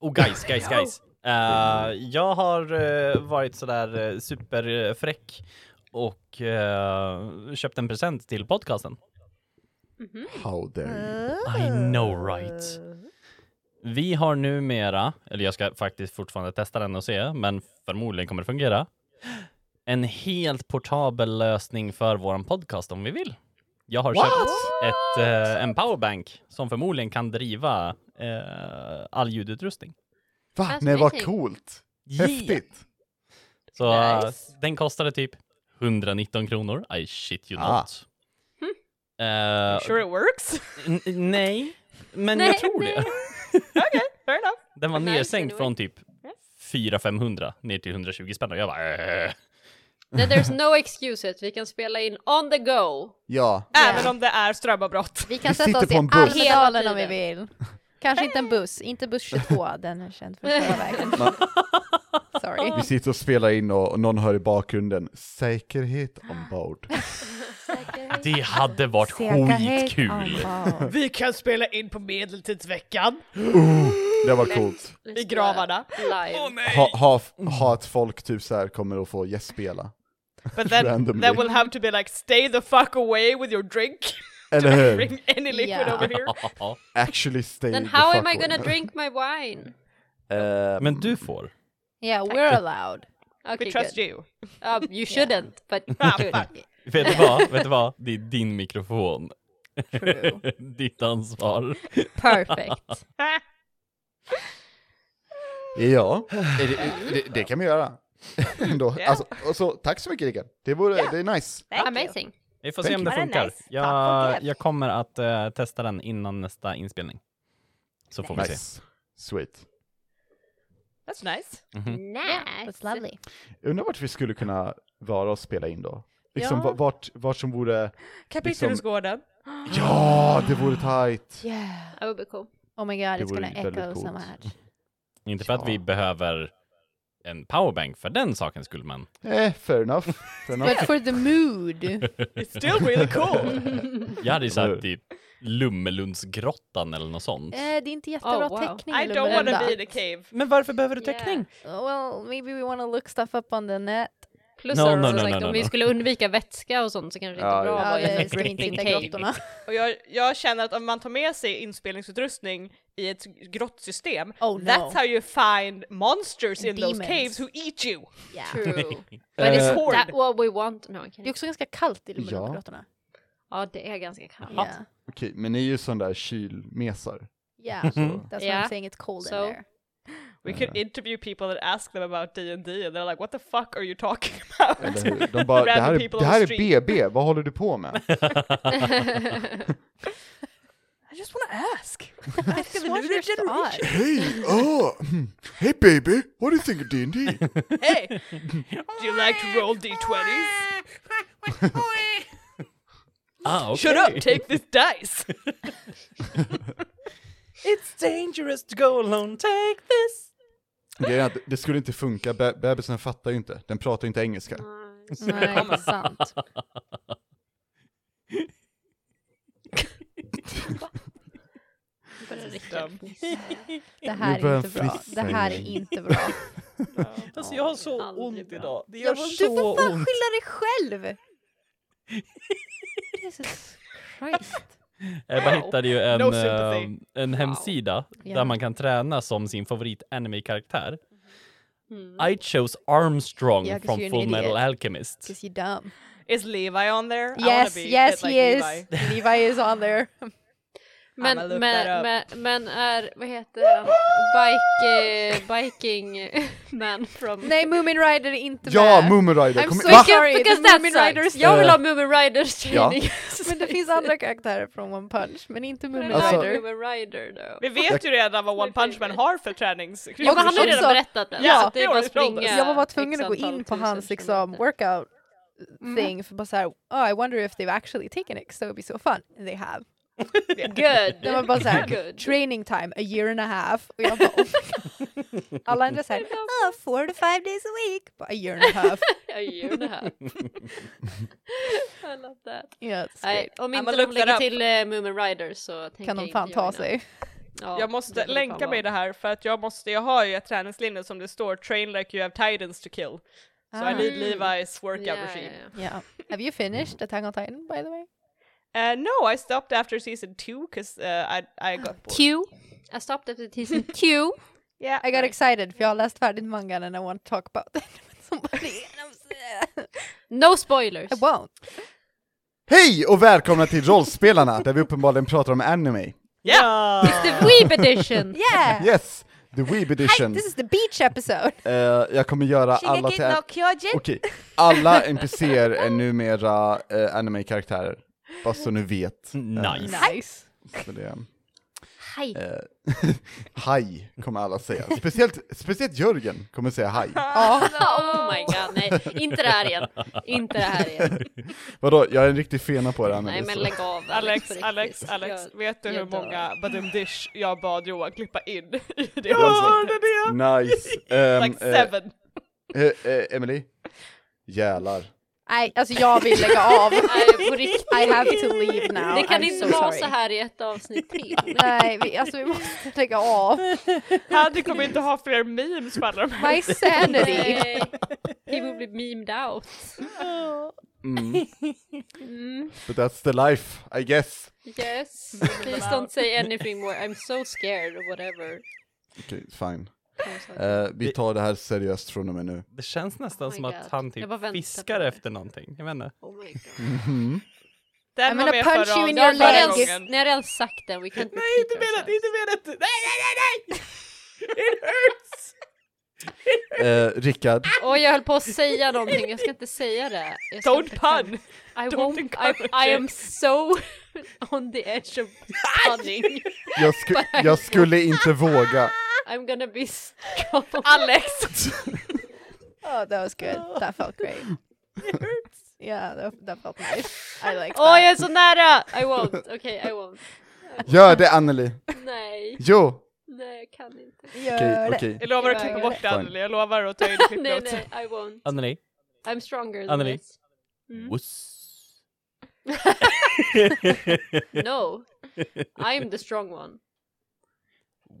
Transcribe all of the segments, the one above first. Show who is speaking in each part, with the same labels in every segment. Speaker 1: Och Oh, guys, guys, guys. Eh, jag har eh, varit sådär eh, superfräck och eh, köpt en present till podcasten.
Speaker 2: How
Speaker 3: Mm.
Speaker 2: dare you?
Speaker 1: I know right. Vi har numera, eller jag ska faktiskt fortfarande testa den och se, men förmodligen kommer det fungera. En helt portabel lösning för våran podcast om vi vill. Jag har köpt ett, eh, en powerbank som förmodligen kan driva eh, all ljudutrustning.
Speaker 2: Va?
Speaker 3: Fast
Speaker 2: Nej, vad
Speaker 3: precis.
Speaker 2: coolt.
Speaker 1: Yeah.
Speaker 2: Häftigt.
Speaker 1: Så eh,
Speaker 3: Nice.
Speaker 1: den kostade typ 119 kronor. I shit you
Speaker 2: Ah.
Speaker 1: not. Eh,
Speaker 3: Hm. Sure it works.
Speaker 1: n- nej, men
Speaker 3: Nej,
Speaker 1: jag tror det.
Speaker 3: nej. okay, fair enough.
Speaker 1: Den var
Speaker 3: Nice
Speaker 1: nedsänkt
Speaker 3: anyway.
Speaker 1: från typ 400-500 ner till 120 spänn och jag bara äh.
Speaker 3: Then there's no excuses, vi kan spela in on the go.
Speaker 2: Ja.
Speaker 4: Även om det är strömavbrott.
Speaker 5: Vi
Speaker 2: Vi
Speaker 5: kan
Speaker 2: sitter
Speaker 5: sätta oss
Speaker 2: på en
Speaker 5: i
Speaker 2: buss.
Speaker 5: Almedalen om vi
Speaker 3: Hela
Speaker 5: vill. Kanske inte en buss, inte buss 22, den är känd för stora vägen. Sorry.
Speaker 2: Vi sitter och spelar in och och någon hör i bakgrunden, säkerhet ombord.
Speaker 1: Det hade varit skitkul.
Speaker 4: Vi kan spela in på medeltidsveckan
Speaker 2: Det var coolt.
Speaker 4: i gravarna.
Speaker 3: Live.
Speaker 2: Ha, ha, ha att folk typ så här kommer att få gästspela.
Speaker 4: But then,
Speaker 2: Randomly.
Speaker 4: then we'll have to be like stay the fuck away with your drink.
Speaker 2: Eller hur?
Speaker 4: Bring any liquid
Speaker 5: Ja.
Speaker 4: over here.
Speaker 1: Ja.
Speaker 2: Actually stay
Speaker 3: Then
Speaker 2: the
Speaker 3: how
Speaker 2: fuck
Speaker 3: am I gonna
Speaker 2: away.
Speaker 3: drink my wine?
Speaker 2: Ehm,
Speaker 1: Men du får.
Speaker 5: Yeah, we're allowed.
Speaker 3: Okay,
Speaker 4: We trust
Speaker 3: good.
Speaker 4: you. Ah,
Speaker 3: Uh, you shouldn't, but you could.
Speaker 1: Vet du vad? Vet du vad? Det är din mikrofon.
Speaker 5: True.
Speaker 1: Ditt ansvar.
Speaker 5: Perfect.
Speaker 2: Ja, det, det, det kan vi göra. Ändå.
Speaker 4: Ja.
Speaker 2: Alltså, och så, tack så mycket Rickard, det, vore, det är nice.
Speaker 3: Amazing.
Speaker 1: Vi får se om det
Speaker 4: Thank
Speaker 5: you.
Speaker 1: funkar.
Speaker 5: Nice. Tack
Speaker 1: Jag,
Speaker 5: för det.
Speaker 1: jag kommer att eh, testa den innan nästa inspelning. Så får vi se.
Speaker 2: Nice. Sweet.
Speaker 4: That's nice.
Speaker 3: Nice.
Speaker 5: That's lovely.
Speaker 2: Jag undrar vart vi skulle kunna vara och spela in då? Liksom
Speaker 4: Ja.
Speaker 2: va- vart, vart som vore...
Speaker 4: Kapitulsgården.
Speaker 2: Ja, det vore tight!
Speaker 5: Yeah.
Speaker 3: That would be cool.
Speaker 5: Oh my god,
Speaker 2: Det
Speaker 5: it's
Speaker 2: vore
Speaker 5: gonna
Speaker 2: väldigt
Speaker 5: echo
Speaker 2: coolt.
Speaker 5: so much.
Speaker 1: Inte för att vi behöver en powerbank för den saken skulle man.
Speaker 2: Eh, fair enough. Fair enough.
Speaker 5: But for the mood.
Speaker 4: It's still really cool.
Speaker 1: Jag hade ju
Speaker 2: Eller
Speaker 1: sagt
Speaker 2: hur?
Speaker 1: i Lummelundsgrottan eller något sånt.
Speaker 5: Eh, det är inte jättebra
Speaker 3: Oh, wow.
Speaker 5: täckning
Speaker 4: I don't
Speaker 5: Lummelunda.
Speaker 4: wanna be in a cave.
Speaker 1: Men varför behöver du
Speaker 3: täckning?
Speaker 5: Oh, Well, maybe we wanna look stuff up on the net.
Speaker 3: Plus
Speaker 1: No, no,
Speaker 3: no,
Speaker 1: no,
Speaker 3: sagt,
Speaker 1: no, no,
Speaker 3: om
Speaker 1: no.
Speaker 3: vi skulle undvika vätska och sånt så kanske det inte
Speaker 2: Ja,
Speaker 3: är bra
Speaker 2: ja.
Speaker 3: att
Speaker 5: Ja,
Speaker 3: vara
Speaker 5: vi
Speaker 3: i
Speaker 5: springer inte in i
Speaker 3: cave.
Speaker 5: grottorna.
Speaker 4: Och jag, jag känner att om man tar med sig inspelningsutrustning i ett grottsystem,
Speaker 5: Oh, no.
Speaker 4: that's how you find monsters in those
Speaker 5: Demons.
Speaker 4: caves who eat you.
Speaker 5: Yeah.
Speaker 3: True. But
Speaker 2: Eh,
Speaker 3: is
Speaker 4: Hård.
Speaker 3: that what we want? No,
Speaker 5: Det är
Speaker 3: okay.
Speaker 5: också ganska kallt i
Speaker 2: Ja.
Speaker 5: Lummelundagrottorna.
Speaker 3: Ja, det är ganska kallt.
Speaker 5: Yeah.
Speaker 2: Okej, men ni är ju sådana där kylmesar.
Speaker 5: Yeah,
Speaker 2: Mhm.
Speaker 5: that's why
Speaker 3: Yeah.
Speaker 5: I'm saying it's cold
Speaker 3: So-
Speaker 5: in there.
Speaker 4: We
Speaker 5: Uh-huh.
Speaker 4: could interview people and ask them about D&D and they're like what the fuck are you talking about?
Speaker 2: Eller hur? De bara, det här,
Speaker 4: Random
Speaker 2: är,
Speaker 4: people
Speaker 2: det
Speaker 4: on
Speaker 2: här är
Speaker 4: the
Speaker 2: BB, vad håller du på med?
Speaker 4: I just wanna ask.
Speaker 5: It's so much
Speaker 4: lunar
Speaker 5: thought.
Speaker 2: Hej, oh, hey baby, what do you think of D&D?
Speaker 4: Hey, do you like to roll d20s?
Speaker 1: ah, okay.
Speaker 4: Shut up, take this dice!
Speaker 1: It's dangerous to go alone, take this!
Speaker 2: Grejen är att det skulle inte funka, Be- bebisen fattar ju inte, den pratar ju inte engelska.
Speaker 5: Nej, det är sant. Det här
Speaker 2: börjar
Speaker 5: är inte bra.
Speaker 2: frissa
Speaker 5: Det här är
Speaker 2: igen.
Speaker 5: inte bra.
Speaker 1: Alltså jag har så
Speaker 3: Aldrig
Speaker 1: ont
Speaker 3: bra.
Speaker 1: idag. Det gör
Speaker 5: Jag bara, du
Speaker 1: så
Speaker 5: får fan
Speaker 1: ont.
Speaker 5: skylla dig själv! Jesus Christ.
Speaker 1: Ebba hittade ju en,
Speaker 4: No
Speaker 1: eh,
Speaker 4: sympathy.
Speaker 1: en hemsida där
Speaker 5: Yeah.
Speaker 1: man kan träna som sin favorit anime-karaktär.
Speaker 3: Mm.
Speaker 1: I chose Armstrong
Speaker 5: Yeah, 'cause
Speaker 1: from
Speaker 5: you're an
Speaker 1: Full Metal
Speaker 5: idiot.
Speaker 1: Alchemist.
Speaker 5: Because you're dumb.
Speaker 4: Is Levi on there? I wanna
Speaker 5: Yes,
Speaker 4: be a
Speaker 5: yes
Speaker 4: bit like
Speaker 5: he is.
Speaker 4: Levi.
Speaker 5: Levi is on there.
Speaker 3: Men,
Speaker 4: I'ma look
Speaker 3: men,
Speaker 4: that
Speaker 3: men, men är, vad heter han, bike, eh, biking man from...
Speaker 5: Nej, Moomin Rider är inte
Speaker 2: Ja,
Speaker 5: med.
Speaker 2: Moomin Rider!
Speaker 5: I'm
Speaker 2: kommer-
Speaker 5: so
Speaker 2: Va?
Speaker 5: sorry,
Speaker 3: Because, because
Speaker 5: the
Speaker 3: that's
Speaker 5: Moomin
Speaker 3: sad.
Speaker 5: Riders-
Speaker 3: Jag vill
Speaker 2: Eh,
Speaker 3: ha Moomin Riders
Speaker 2: ja.
Speaker 3: training.
Speaker 5: Men det finns andra karaktärer från One Punch, men inte Moomin
Speaker 3: Men
Speaker 2: Alltså-
Speaker 3: alltså,
Speaker 5: Rider.
Speaker 3: Moomin Rider då.
Speaker 4: Vi vet ju redan vad One Punch Man har för tränings...
Speaker 3: Ja men han har ju
Speaker 5: också-
Speaker 3: redan berättat det.
Speaker 4: Ja,
Speaker 3: så att det är bara att
Speaker 4: det är årets
Speaker 3: springa
Speaker 4: ålder.
Speaker 5: Jag var bara tvungen
Speaker 3: x
Speaker 5: att gå
Speaker 3: antal
Speaker 5: in på
Speaker 3: tusen
Speaker 5: hans liksom
Speaker 3: kilometer.
Speaker 5: workout thing för bara såhär, oh I wonder if they've actually taken it, so it'd be so fun. And they have.
Speaker 3: Good!
Speaker 5: Det var bara såhär,
Speaker 3: Good.
Speaker 5: training time, a year and a half. Och jag bara, oh my God. Alla andra såhär, oh four to five days a week, but a year and a half.
Speaker 3: A year and a half. I love that.
Speaker 5: Yeah, it's
Speaker 3: Nej,
Speaker 5: great.
Speaker 3: om
Speaker 4: I'ma
Speaker 3: inte
Speaker 4: look
Speaker 3: de lägger
Speaker 4: that up.
Speaker 3: till eh, Moomin Riders så tänker
Speaker 5: kan
Speaker 3: jag
Speaker 5: de
Speaker 3: inte
Speaker 5: fan
Speaker 3: göra
Speaker 5: ta
Speaker 3: det.
Speaker 5: sig.
Speaker 3: Ja,
Speaker 4: jag
Speaker 3: det
Speaker 4: måste
Speaker 3: får det
Speaker 4: länka
Speaker 3: fan
Speaker 4: mig i det här för att jag måste, jag har ju ett träningslinne som det står train like you have titans to kill. Så
Speaker 5: Ah.
Speaker 4: I need
Speaker 3: Mm.
Speaker 4: Levi's
Speaker 3: vara.
Speaker 4: workout
Speaker 3: Ja, ja,
Speaker 4: regime.
Speaker 3: ja.
Speaker 5: Yeah. Have you finished Attack on Titan, by the way?
Speaker 4: Uh, no, I stopped after season two because uh, I, I got bored.
Speaker 3: Q. I stopped after season Q.
Speaker 4: Yeah,
Speaker 5: I got
Speaker 4: right.
Speaker 5: excited för jag har läst färdigt mangan and I want to talk about it. with Somebody and I'm sad.
Speaker 3: No spoilers.
Speaker 5: I won't.
Speaker 2: Hej och välkomna till Rollspelarna, där vi uppenbarligen pratar om anime.
Speaker 4: Yeah!
Speaker 3: It's the Weeb edition!
Speaker 5: Yeah!
Speaker 2: Yes! The Weeb
Speaker 5: Hi,
Speaker 2: edition.
Speaker 5: this is the beach episode!
Speaker 2: Eh, jag kommer göra alla till... en-
Speaker 5: Kyojin!
Speaker 2: Okej, alla NPCer är numera eh, anime-karaktärer. Bara så ni vet. Eh,
Speaker 1: Nice.
Speaker 5: Nice!
Speaker 2: Så det,
Speaker 3: Hej!
Speaker 2: eh, haj kommer alla säga. Speciellt, speciellt Jörgen kommer säga haj.
Speaker 5: Ja,
Speaker 3: Oh my god, nej. Inte det här igen. Inte det här igen.
Speaker 2: Vadå, jag är en riktig fena på det här
Speaker 3: Nej
Speaker 2: men
Speaker 3: men
Speaker 2: så-
Speaker 3: lägg av
Speaker 4: Alex,
Speaker 3: på riktigt.
Speaker 4: Alex, Alex,
Speaker 3: Jag-
Speaker 4: vet du hur
Speaker 3: jag dör.
Speaker 4: många badumdish jag bad Johan klippa in i det
Speaker 2: Jag
Speaker 4: avsnittet?
Speaker 2: Nice! Ehm,
Speaker 4: Like
Speaker 2: eh,
Speaker 4: seven.
Speaker 2: eh, eh, Emily? Jälar.
Speaker 5: Nej, alltså jag vill lägga av.
Speaker 3: Nej, på riktigt.
Speaker 5: I have to leave now.
Speaker 3: Det kan
Speaker 5: I'm
Speaker 3: inte
Speaker 5: so
Speaker 3: vara
Speaker 5: sorry.
Speaker 3: så här i ett avsnitt till.
Speaker 5: Nej, vi, alltså vi måste lägga av.
Speaker 4: Hadi kommer inte ha fler memes på alla de här.
Speaker 5: My sanity!
Speaker 3: Nej. He eh, will be memed out.
Speaker 5: Oh,
Speaker 2: Mm.
Speaker 3: Mm.
Speaker 2: But that's the life, I guess.
Speaker 3: Yes. Please don't say anything more. I'm so scared or whatever.
Speaker 2: Okej, fine. Eh, vi tar det här seriöst från och med nu.
Speaker 1: Det känns nästan
Speaker 3: Oh my
Speaker 1: som
Speaker 3: God.
Speaker 1: att han
Speaker 3: Jag bara
Speaker 1: typ
Speaker 3: väntar
Speaker 1: fiskar
Speaker 3: på det.
Speaker 1: efter någonting. Jag vet inte.
Speaker 3: Oh my god.
Speaker 4: Den
Speaker 5: I'm
Speaker 4: var
Speaker 5: gonna
Speaker 4: med
Speaker 5: punch
Speaker 4: förra
Speaker 5: you in
Speaker 3: Jag har
Speaker 5: your
Speaker 4: förra
Speaker 5: leg.
Speaker 3: redan,
Speaker 4: gången.
Speaker 3: ni har redan sagt den, we can't repeat
Speaker 4: Nej, inte menat,
Speaker 3: ourselves.
Speaker 4: inte menat! Nej, nej, nej, nej! It hurts!
Speaker 2: Eh, Rickard,
Speaker 3: Åh, jag höll på att säga någonting, jag ska inte säga det. Jag ska
Speaker 4: Don't
Speaker 3: inte kan-
Speaker 4: pun!
Speaker 3: I
Speaker 4: Don't
Speaker 3: won't,
Speaker 4: encourage
Speaker 3: I, I am
Speaker 4: it. Ah,
Speaker 3: so on the edge of punning.
Speaker 2: jag, sku jag skulle inte våga.
Speaker 3: I'm gonna be strong.
Speaker 4: Alex!
Speaker 5: Oh, that was good. That felt great. Yeah, that, that felt nice. I like
Speaker 4: Oh,
Speaker 3: Åh, jag
Speaker 5: that.
Speaker 3: är så nära! I won't, okej, I won't.
Speaker 2: Gör det Anneli!
Speaker 3: Nej,
Speaker 2: Jo!
Speaker 3: nej jag kan inte.
Speaker 2: Okej,
Speaker 5: Gör det.
Speaker 2: okej.
Speaker 4: Jag lovar att klippa bort det
Speaker 2: Fine.
Speaker 4: Anneli, jag lovar att ta in
Speaker 3: Nej,
Speaker 4: klippnoten.
Speaker 3: nej, I won't.
Speaker 4: Uh,
Speaker 1: Anneli?
Speaker 3: I'm stronger than
Speaker 1: Anneli.
Speaker 3: this. Mm.
Speaker 1: Wuss.
Speaker 3: No, I'm the strong one.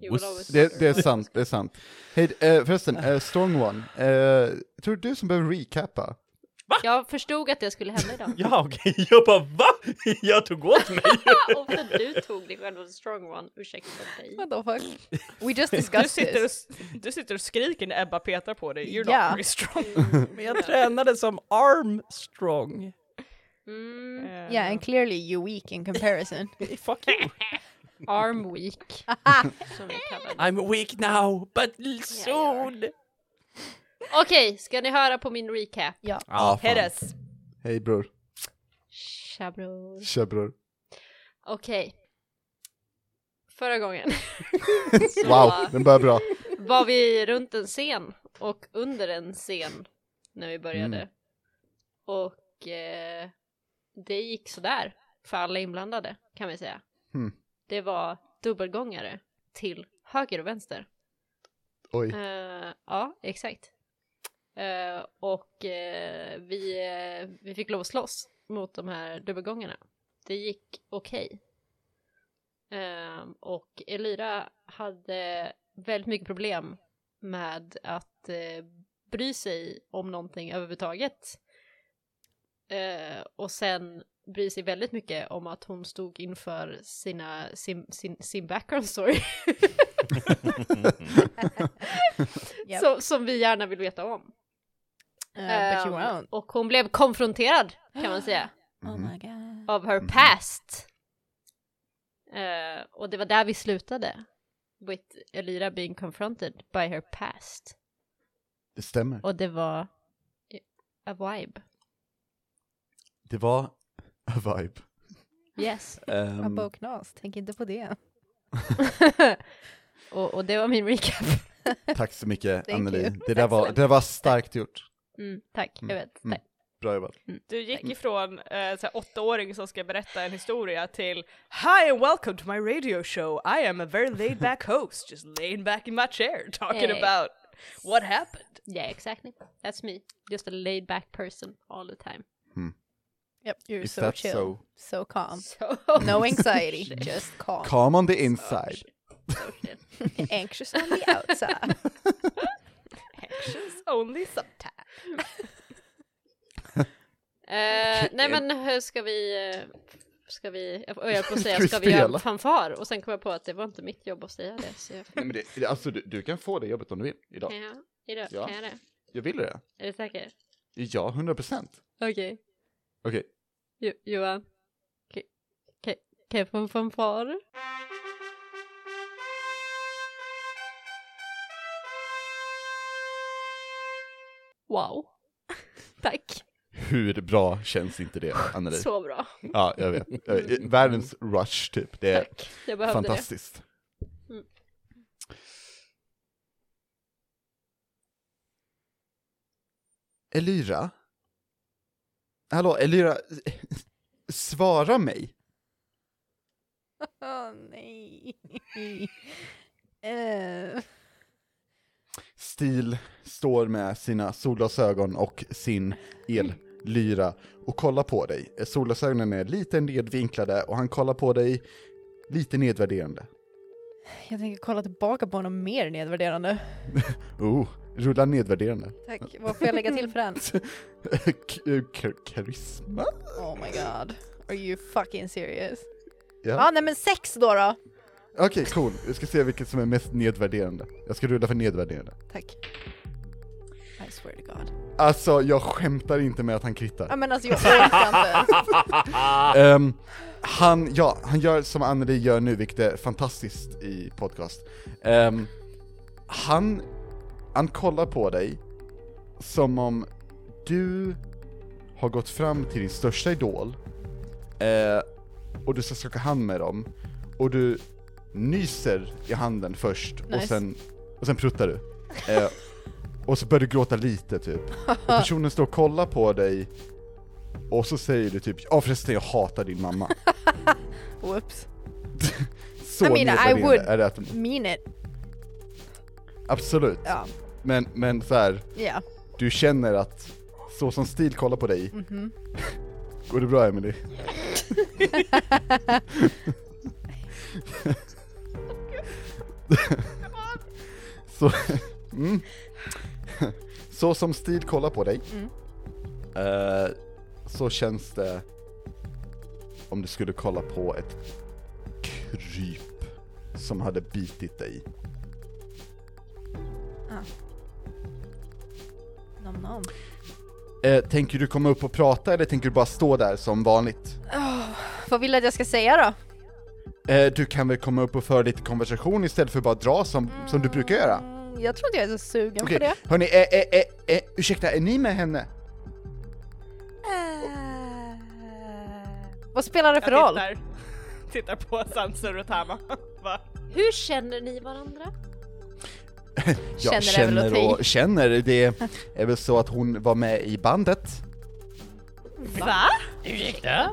Speaker 3: You will
Speaker 1: Wuss.
Speaker 3: always be
Speaker 2: Det, det är
Speaker 3: strong.
Speaker 2: sant, det är sant. Hej, eh, förresten, eh, Strong One, eh, tror du som behöver recappa?
Speaker 3: Jag förstod att det skulle hända idag.
Speaker 1: Ja, okej. Jag bara va? Jag tog åt mig.
Speaker 3: Och för du tog dig själv som strong one, ursäkta dig.
Speaker 5: What the fuck? We just
Speaker 4: Du
Speaker 5: discussed
Speaker 4: sitter, och,
Speaker 5: this.
Speaker 4: du sitter och skriker när Ebba petar på dig, you're
Speaker 5: Ja.
Speaker 4: not very strong.
Speaker 1: Men jag tränade som armstrong.
Speaker 3: Mm,
Speaker 4: Eh,
Speaker 5: Yeah, and clearly you're weak in comparison.
Speaker 1: Fuck you.
Speaker 3: arm weak. som vi kallar det.
Speaker 1: I'm weak now, but soon.
Speaker 3: Okej, ska ni höra på min recap?
Speaker 5: Ja.
Speaker 1: Ja, fan.
Speaker 4: Hit us!
Speaker 2: Hej bror,
Speaker 3: Tja bror.
Speaker 2: tja bror.
Speaker 3: Okej. Förra gången så
Speaker 2: Wow, den börjar bra.
Speaker 3: var vi runt en scen och under en scen när vi började.
Speaker 2: Mm.
Speaker 3: Och eh, det gick sådär för alla inblandade kan vi säga.
Speaker 2: Mm.
Speaker 3: Det var dubbelgångare till höger och vänster.
Speaker 2: Oj.
Speaker 3: Eh, ja, exakt. Eh, och eh, vi, eh, vi fick lov att slåss mot de här dubbelgångarna. Det gick okej. Eh, och Elira hade väldigt mycket problem med att eh, bry sig om någonting överhuvudtaget. Eh, och sen bryr sig väldigt mycket om att hon stod inför sina, sin, sin, sin background story.
Speaker 5: Yep.
Speaker 3: som, som vi gärna vill veta om.
Speaker 5: Uh, but you
Speaker 3: Ehm,
Speaker 5: won't.
Speaker 3: Och hon blev konfronterad kan man säga
Speaker 5: Oh my god.
Speaker 3: av
Speaker 2: Mm.
Speaker 3: her past. Eh, och det var där vi slutade. With Elira being confronted by her past.
Speaker 2: Det stämmer.
Speaker 3: Och det var a vibe.
Speaker 2: Det var a vibe.
Speaker 3: Yes.
Speaker 5: Vad
Speaker 2: Ehm,
Speaker 5: bok knas, tänk inte på det.
Speaker 3: och, och det var min recap.
Speaker 2: tack så mycket
Speaker 5: Thank
Speaker 2: Anneli.
Speaker 5: you.
Speaker 2: Det där, var, det där var starkt gjort.
Speaker 3: Mm, tack, jag vet.
Speaker 2: Mm.
Speaker 3: Tack.
Speaker 2: Bra jobbat.
Speaker 4: Du gick ifrån eh, såhär, åttaåring som ska berätta en historia till Hi and welcome to my radio show, I am a very laid back host, just laying back in my chair talking
Speaker 3: Hey.
Speaker 4: about what happened.
Speaker 3: Yeah, exactly. That's me. Just a laid back person all the time.
Speaker 5: Yep, you're
Speaker 2: Is
Speaker 5: so
Speaker 2: that
Speaker 5: chill.
Speaker 2: so?
Speaker 5: So calm.
Speaker 3: So...
Speaker 5: No anxiety, just calm.
Speaker 2: Calm on the inside.
Speaker 3: störst del.
Speaker 5: Anxious on the outside.
Speaker 4: Actions only sometimes.
Speaker 3: Eh, nej men hur ska vi, eh, ska vi, jag höll på att säga, ska vi göra
Speaker 2: Spela.
Speaker 3: en fanfar? Och sen kom jag på att det var inte mitt jobb att säga det. Så jag,
Speaker 2: Nej, men det, det- alltså, du, du kan få det jobbet om du vill idag.
Speaker 3: kan jag, idag,
Speaker 2: Ja.
Speaker 3: kan jag det?
Speaker 2: Jag vill det.
Speaker 3: Är du säker?
Speaker 2: Ja, 100 procent.
Speaker 3: Okej,
Speaker 2: Okej.
Speaker 3: Jo- Johan. K- k- Kan jag få en fanfar? Wow. Tack,
Speaker 2: Hur bra känns inte det, Anneli?
Speaker 3: så bra.
Speaker 2: Ja, jag vet. Jag vet. Världens rush, typ. Det är
Speaker 3: Tack, jag behövde det.
Speaker 2: fantastiskt.
Speaker 3: Mm.
Speaker 2: Elira? Hallå, Elira, svara mig.
Speaker 5: Åh nej. Eh,
Speaker 2: Stil står med sina solglasögon och sin ellyra och kollar på dig. Solglasögonen är lite nedvinklade och han kollar på dig lite nedvärderande.
Speaker 5: jag tänker kolla tillbaka på honom mer nedvärderande.
Speaker 2: Oh, rulla nedvärderande.
Speaker 5: Tack. Vad får jag lägga till för den?
Speaker 2: K- eh, kar- Karisma?
Speaker 5: Oh my god. Are you fucking serious?
Speaker 2: Ja.
Speaker 5: ah, nej men sex då då.
Speaker 2: Okej, cool. Vi ska se vilket som är mest nedvärderande. Jag ska rulla för nedvärderande.
Speaker 5: Tack. I swear to god.
Speaker 2: Alltså, jag skämtar inte med att han krittar.
Speaker 5: Ja men alltså jag orkar inte.
Speaker 2: Ehm, han, ja, han gör som Anneli gör nu, vilket är fantastiskt i podcast. Ehm, han, han kollar på dig som om du har gått fram till din största idol eh, och du ska skaka hand med dem och du nyser i handen först och,
Speaker 5: Nice.
Speaker 2: sen, och sen pruttar du. Eh, och så börjar du gråta lite typ. Och personen står och kollar på dig och så säger du typ ja förresten jag hatar din mamma.
Speaker 5: Whoops.
Speaker 2: Så
Speaker 5: I mean, I
Speaker 2: nedvärderande
Speaker 5: would-
Speaker 2: är det att,
Speaker 5: Mean it.
Speaker 2: absolut.
Speaker 5: Ja.
Speaker 2: Men, men så här,
Speaker 5: Ja.
Speaker 2: du känner att så som Stil kollar på dig, går det bra Emily? så, mm. så som Stil kollar på dig, eh, så känns det om du skulle kolla på ett kryp som hade bitit dig.
Speaker 5: Nom nom.
Speaker 2: Eh, tänker du komma upp och prata eller tänker du bara stå där som vanligt?
Speaker 5: Vad vill du att jag ska säga då?
Speaker 2: Eh, du kan väl komma upp och föra lite konversation istället för att bara dra som, som du brukar göra?
Speaker 5: Mm, Jag tror inte jag är så sugen
Speaker 2: Okej,
Speaker 5: på det.
Speaker 2: hörni, eh, eh, eh, eh, ursäkta, är ni med henne?
Speaker 5: Vad spelar det för
Speaker 4: Jag
Speaker 5: roll?
Speaker 4: tittar, tittar på Sansa Rotama. Va?
Speaker 3: Hur känner ni varandra?
Speaker 5: Känner
Speaker 2: Jag
Speaker 5: är väl
Speaker 2: känner
Speaker 5: okej.
Speaker 2: och känner, det är väl så att hon var med i bandet?
Speaker 4: Va?
Speaker 1: Ursäkta?
Speaker 5: Ja,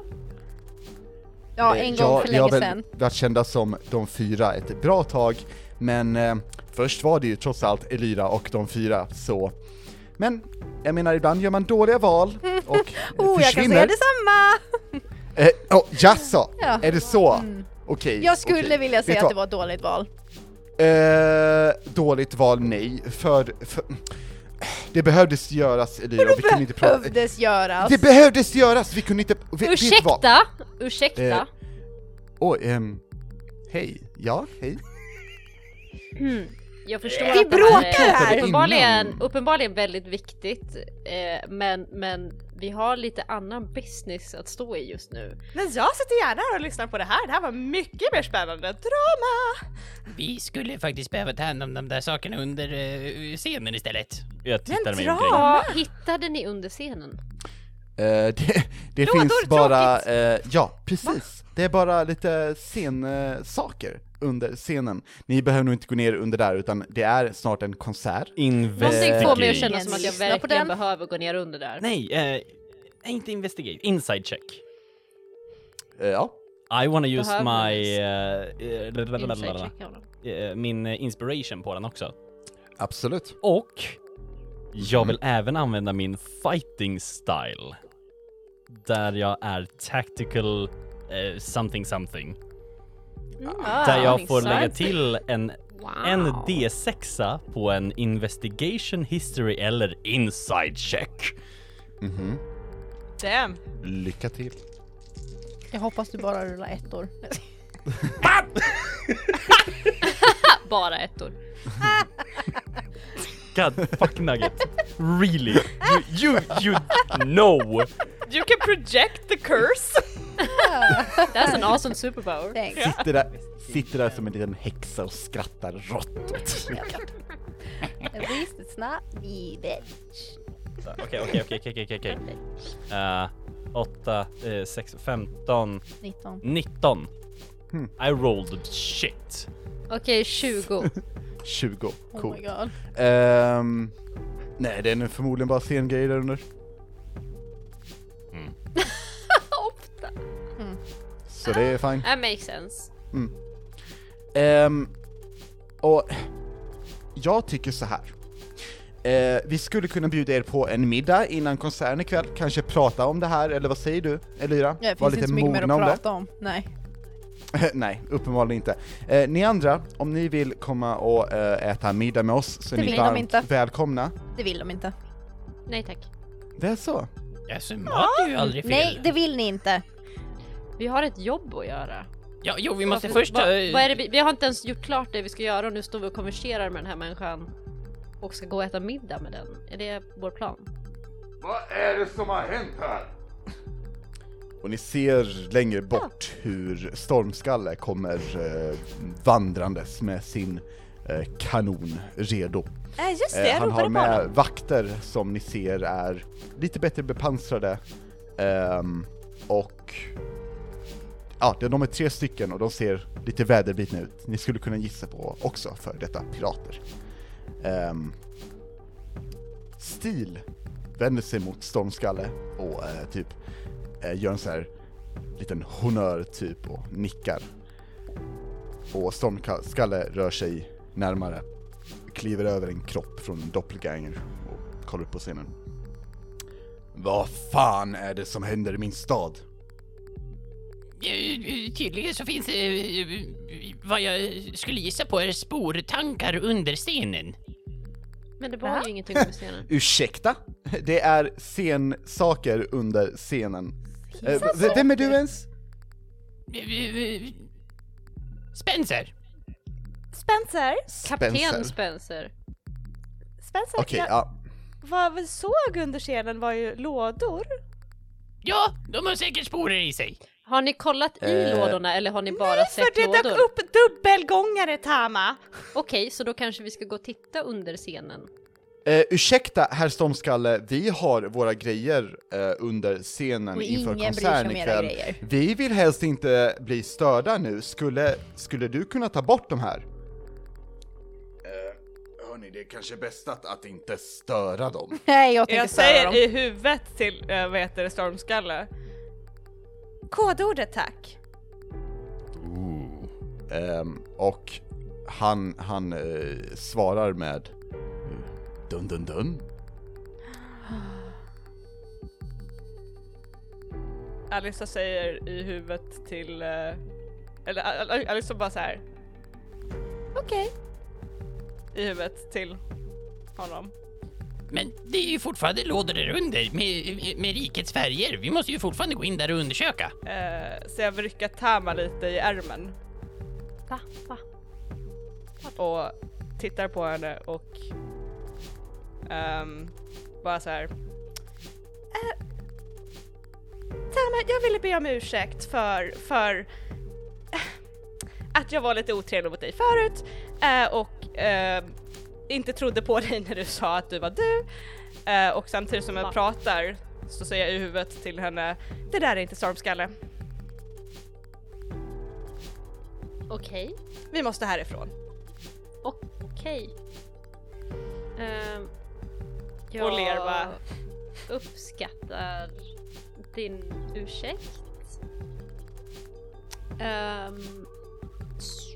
Speaker 2: Eh,
Speaker 5: en gång
Speaker 2: jag- jag
Speaker 5: för länge
Speaker 2: har väl
Speaker 5: sedan.
Speaker 2: varit kända som de fyra ett bra tag, men eh, först var det ju trots allt Elira och de fyra, så... Men, jag menar ibland gör man dåliga val och eh,
Speaker 5: Oh, jag kan
Speaker 2: försvinner.
Speaker 5: säga detsamma!
Speaker 2: Eh, oh, jaså?
Speaker 5: Ja. Mm.
Speaker 2: Är det så? Okej.
Speaker 5: Jag skulle
Speaker 2: okej.
Speaker 5: vilja
Speaker 2: Vet
Speaker 5: säga
Speaker 2: du
Speaker 5: att det var ett dåligt val.
Speaker 2: vad? Eh, dåligt val, nej. För, för... Det behövdes göras, Elira, vi kunde inte prata...
Speaker 5: Behövdes göras.
Speaker 2: Det behövdes göras, vi kunde inte... Vi, vet du vad?
Speaker 3: Ursäkta! Ursäkta!
Speaker 2: Eh, Oj, ehm... Hej. Ja, hej.
Speaker 3: Jag förstår
Speaker 5: Vi
Speaker 3: att det här
Speaker 5: bråkar
Speaker 3: är
Speaker 5: här!
Speaker 3: Uppenbarligen,
Speaker 2: Innan.
Speaker 3: uppenbarligen väldigt viktigt, eh, men, men vi har lite annan business att stå i just nu.
Speaker 4: Men jag sitter gärna här och lyssnar på det här. Det här var mycket mer spännande. Drama!
Speaker 6: Vi skulle faktiskt behöva ta hand om de där sakerna under eh, scenen istället.
Speaker 1: Jag tittar mig
Speaker 4: dra!
Speaker 1: omkring.
Speaker 3: Vad hittade ni under scenen?
Speaker 2: Eh, det det
Speaker 4: Lådor,
Speaker 2: finns bara... Eh, ja, precis. Det är bara lite scensaker under scenen. Ni behöver nog inte gå ner under där, utan det är snart en konsert.
Speaker 3: Någonting får mig att
Speaker 1: Investigate.
Speaker 3: känna som att jag
Speaker 5: Lyssna på
Speaker 3: verkligen
Speaker 5: den.
Speaker 3: behöver gå ner under där.
Speaker 1: Eh, Nej, eh, inte investigate. Inside check.
Speaker 2: Eh, ja.
Speaker 1: I wanna use
Speaker 3: Behöver
Speaker 1: my...
Speaker 3: vi-
Speaker 1: eh, eh,
Speaker 3: Insight
Speaker 1: lalalala.
Speaker 3: checka honom.
Speaker 1: Eh, min eh, inspiration på den också.
Speaker 2: Absolut.
Speaker 1: Och jag vill även använda min fighting style. Där jag är tactical eh, something something. Där jag
Speaker 4: Ah,
Speaker 1: får lägga
Speaker 4: intressant.
Speaker 1: till en,
Speaker 3: Wow.
Speaker 1: en D6a på en investigation history eller inside check.
Speaker 4: Damn.
Speaker 2: Mhm. Lycka till.
Speaker 5: Jag hoppas du bara rullar ettor.
Speaker 3: Ah, Bara ettor.
Speaker 1: God fuck nugget. Really? You, you, you know!
Speaker 4: You can project the curse.
Speaker 3: That's an alltså awesome superpower.
Speaker 5: Thanks.
Speaker 2: Sitter där, sitter där som en liten häxa och skrattar rått.
Speaker 5: At least it's not me bitch.
Speaker 1: Okej, okej, okej, okej, okej, okej. Eh, Åtta, eh, sex, femton,
Speaker 5: 19.
Speaker 1: nitton. I rolled shit.
Speaker 3: Okej, 20.
Speaker 2: 20,
Speaker 5: Oh
Speaker 2: cool.
Speaker 5: my god.
Speaker 2: Ehm, nej, det är nu förmodligen bara scengrejer där under.
Speaker 3: Ofta.
Speaker 5: Mm.
Speaker 2: Så det är fine.
Speaker 3: That makes sense.
Speaker 2: Ehm, och jag tycker så här. Eh, vi skulle kunna bjuda er på en middag innan konserten ikväll, kanske prata om det här, eller vad säger du Elvira?
Speaker 5: Ja, det finns inte så mycket mer att prata om. Nej.
Speaker 2: Nej, uppenbarligen inte. Eh, ni andra, om ni vill komma och eh, äta middag med oss så är
Speaker 5: Det
Speaker 2: ni
Speaker 5: vill de
Speaker 2: varmt
Speaker 5: inte.
Speaker 2: välkomna.
Speaker 5: Det vill de inte.
Speaker 3: Nej tack.
Speaker 2: Det är så?
Speaker 6: Jaså, mat är ju aldrig fel.
Speaker 5: Nej, det vill ni inte.
Speaker 3: Vi har ett jobb att göra.
Speaker 6: Ja, jo, vi måste
Speaker 3: Varför-
Speaker 6: först... eh,
Speaker 3: vad,
Speaker 6: ta-
Speaker 3: vad är det vi, vi har inte ens gjort klart det vi ska göra och nu står vi och konverserar med den här människan och ska gå och äta middag med den. Är det vår plan?
Speaker 2: Vad är det som har hänt här? Och ni ser längre bort hur Stormskalle kommer eh, vandrandes med sin eh, kanon redo.
Speaker 5: Äh, just
Speaker 2: Eh, han har med vakter som ni ser är lite bättre bepansrade ehm, och ja, det- de är tre stycken och de ser lite väderbitna ut. Ni skulle kunna gissa på också för detta pirater. Ehm, Stil vänder sig mot Stormskalle och eh, typ eh, gör en sån här liten honör typ och nickar. Och Stormskalle rör sig närmare kliver över en kropp från en doppelganger och kollar upp på scenen. Vad fan är det som händer i min stad?
Speaker 6: Eh, Tydligen så finns eh, vad jag skulle gissa på är sportankar under scenen.
Speaker 3: Men det var ju ingenting under scenen.
Speaker 2: Ursäkta? Det är scensaker under scenen. Eh, v- vem är du ens?
Speaker 6: Eh, eh, Spencer!
Speaker 4: Spencer?
Speaker 3: Kapten Spencer.
Speaker 4: Spencer,
Speaker 2: Okej,
Speaker 4: jag,
Speaker 2: ja.
Speaker 4: vad vi såg under scenen var ju lådor.
Speaker 6: Ja, de har säkert sporer i sig.
Speaker 3: Har ni kollat i
Speaker 2: Eh,
Speaker 3: lådorna eller har ni bara sett
Speaker 4: För det
Speaker 3: lådor?
Speaker 4: dök upp dubbelgångare, Tama!
Speaker 3: Okej, så då kanske vi ska gå och titta under scenen.
Speaker 2: Eh, ursäkta, herr Stormskalle, vi har våra grejer eh, under scenen
Speaker 5: Och
Speaker 2: inför
Speaker 5: ingen bryr sig
Speaker 2: konserten
Speaker 5: om era
Speaker 2: ikväll.
Speaker 5: grejer.
Speaker 2: Vi vill helst inte bli störda nu. Skulle, skulle du kunna ta bort de här? Eh, hörni, det är kanske bäst att, att inte störa dem.
Speaker 5: Nej, jag tänker
Speaker 4: Jag
Speaker 5: störa
Speaker 4: säger
Speaker 5: dem.
Speaker 4: i huvudet till, äh, vad heter det, Stormskalle. Kodordet tack.
Speaker 2: Ehm, och han, han eh, svarar med Dun dun dun.
Speaker 4: Alissa säger i huvudet till, eh, eller Al- Al- Alissa bara så här. Okej. I huvudet till honom.
Speaker 6: Men det är ju fortfarande lådor där under med, med, med rikets färger. Vi måste ju fortfarande gå in där och undersöka.
Speaker 4: Eh, så jag rycker Tama lite i ärmen
Speaker 3: Va? Va?
Speaker 4: och tittar på henne och ehm, bara så här. Eh, Tama, jag ville be om ursäkt för, för eh, att jag var lite otrevlig mot dig förut eh, och eh, inte trodde på dig när du sa att du var du. Eh, och samtidigt som jag pratar så säger jag i huvudet till henne, det där är inte stormskalle.
Speaker 3: Okej.
Speaker 4: Vi måste härifrån.
Speaker 3: Okej. Ehm,
Speaker 4: Och ler bara.
Speaker 3: uppskattar din ursäkt. Ehm, s-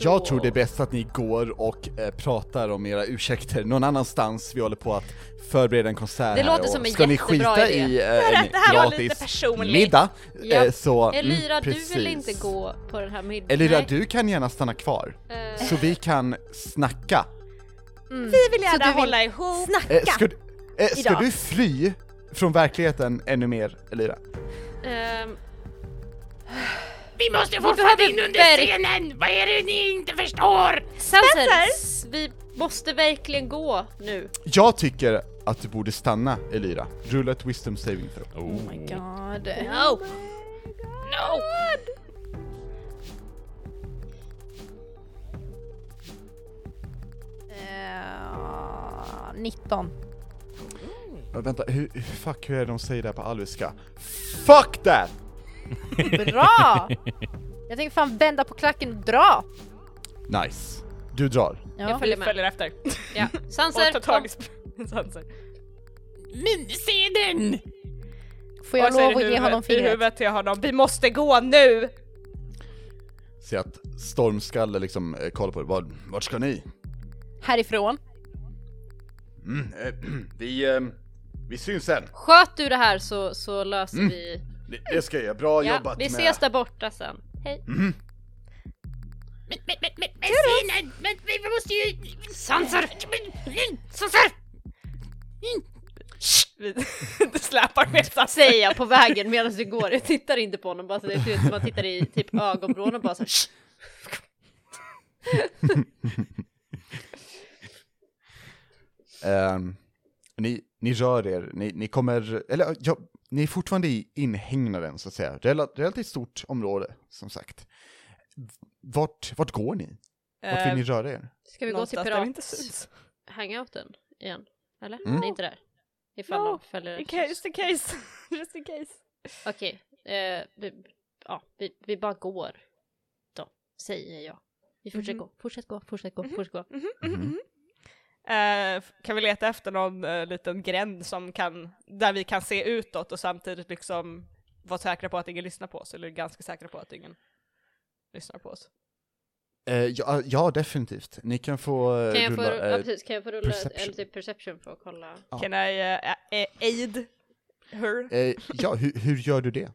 Speaker 2: Jag tror det är bäst att ni går och eh, pratar om era ursäkter någon annanstans. Vi håller på att förbereda en konsert
Speaker 3: Det
Speaker 2: här
Speaker 3: låter
Speaker 2: och
Speaker 3: som en
Speaker 2: Ska ni
Speaker 3: jättebra
Speaker 2: skita
Speaker 3: idé.
Speaker 2: i eh, en
Speaker 4: det här var lite
Speaker 2: gratis
Speaker 4: personligt.
Speaker 2: middag?
Speaker 3: Ja.
Speaker 2: eh, Så, mm,
Speaker 3: Elira, du vill
Speaker 2: precis.
Speaker 3: inte gå på den här middagen?
Speaker 2: Elira,
Speaker 3: Nej.
Speaker 2: du kan gärna stanna kvar.
Speaker 3: Eh,
Speaker 2: Så vi kan snacka.
Speaker 4: Vi vill gärna
Speaker 5: du vill-
Speaker 4: hålla ihop.
Speaker 2: Eh,
Speaker 5: Snacka!
Speaker 2: ska du- eh, ska
Speaker 5: Idag.
Speaker 2: du fly från verkligheten ännu mer, Elira?
Speaker 3: ehm,
Speaker 6: Vi måste
Speaker 3: hade
Speaker 6: fortfarande in under
Speaker 3: verk-
Speaker 6: scenen! Vad är det ni inte förstår?
Speaker 3: Spencer! s- Vi måste verkligen gå nu.
Speaker 2: Jag tycker att du borde stanna, Elira. Rulla ett wisdom saving throw.
Speaker 1: Oh my god.
Speaker 5: God.
Speaker 3: No!
Speaker 6: No!
Speaker 5: Eh, 19.
Speaker 2: Äh, Vänta, hur, hur- fuck hur är det de säger det här på alviska? Fuck that!
Speaker 5: Bra! Jag tänker fan vända på klacken och dra.
Speaker 2: Nice. Du drar.
Speaker 5: Ja.
Speaker 3: Jag
Speaker 4: Vi
Speaker 3: följer med.
Speaker 4: följer efter.
Speaker 3: Ja. Sanser,
Speaker 4: Mm. Och tar tag
Speaker 3: kom.
Speaker 4: i sp- Sanser.
Speaker 6: Men se den!
Speaker 5: Får jag
Speaker 4: Och så är det
Speaker 5: lov att ge
Speaker 4: huvudet-
Speaker 5: honom
Speaker 4: I
Speaker 5: fingret?
Speaker 4: huvudet till honom. Vi måste gå nu!
Speaker 2: Se att Stormskalle liksom eh, kollar på dig. Vart, vart ska ni?
Speaker 5: Härifrån.
Speaker 2: Mm, eh, vi, eh, vi syns sen.
Speaker 3: Sköt du det här så, så löser vi...
Speaker 2: Det, det ska jag göra. Mm. Bra
Speaker 3: Ja,
Speaker 2: jobbat
Speaker 3: vi
Speaker 2: med... Mm-hmm.
Speaker 3: ses där borta sen. Hej.
Speaker 6: Men, men, men, men, men se den! Men vi måste ju... Sansar! Sansar!
Speaker 4: Vi det släpar med Sanser.
Speaker 3: Säger jag på vägen medan vi går. Jag tittar inte på honom bara så det ser ut som att man tittar i typ ögonvrån och bara så här, "Shh."
Speaker 2: Ehm, ni, ni rör er, ni, ni kommer, eller ja, ni är fortfarande i inhägnaden så att säga, Rel relativt stort område som sagt. Vart, vart går ni? Vart
Speaker 3: Eh,
Speaker 2: vill ni röra er?
Speaker 3: Ska vi gå till
Speaker 4: Eh, där vi inte
Speaker 3: pirat
Speaker 4: syns.
Speaker 3: hangouten igen? Eller?
Speaker 2: Mm.
Speaker 3: Det är inte där? Ifall
Speaker 4: No,
Speaker 3: de följer
Speaker 4: In
Speaker 3: efter oss.
Speaker 4: case, in case. Just in case.
Speaker 3: Okej, eh, vi, ja, vi, vi bara går. Då, säger jag. Vi fortsätter gå, fortsätt gå, fortsätt gå, fortsätt gå.
Speaker 2: Mhm.
Speaker 4: Eh, f- kan vi leta efter någon eh, liten gränd som kan, där vi kan se utåt och samtidigt liksom vara säkra på att ingen lyssnar på oss, eller ganska säkra på att ingen lyssnar på oss.
Speaker 2: Eh, ja, ja, definitivt. Ni kan få eh,
Speaker 3: Kan jag få,
Speaker 2: rulla. eh,
Speaker 3: ja, precis, kan jag få rulla ett-
Speaker 2: perception.
Speaker 3: eller typ perception för att kolla?
Speaker 2: Ja.
Speaker 4: Can I eh, a- a- aid her?
Speaker 2: eh, ja, hur, hur gör du det?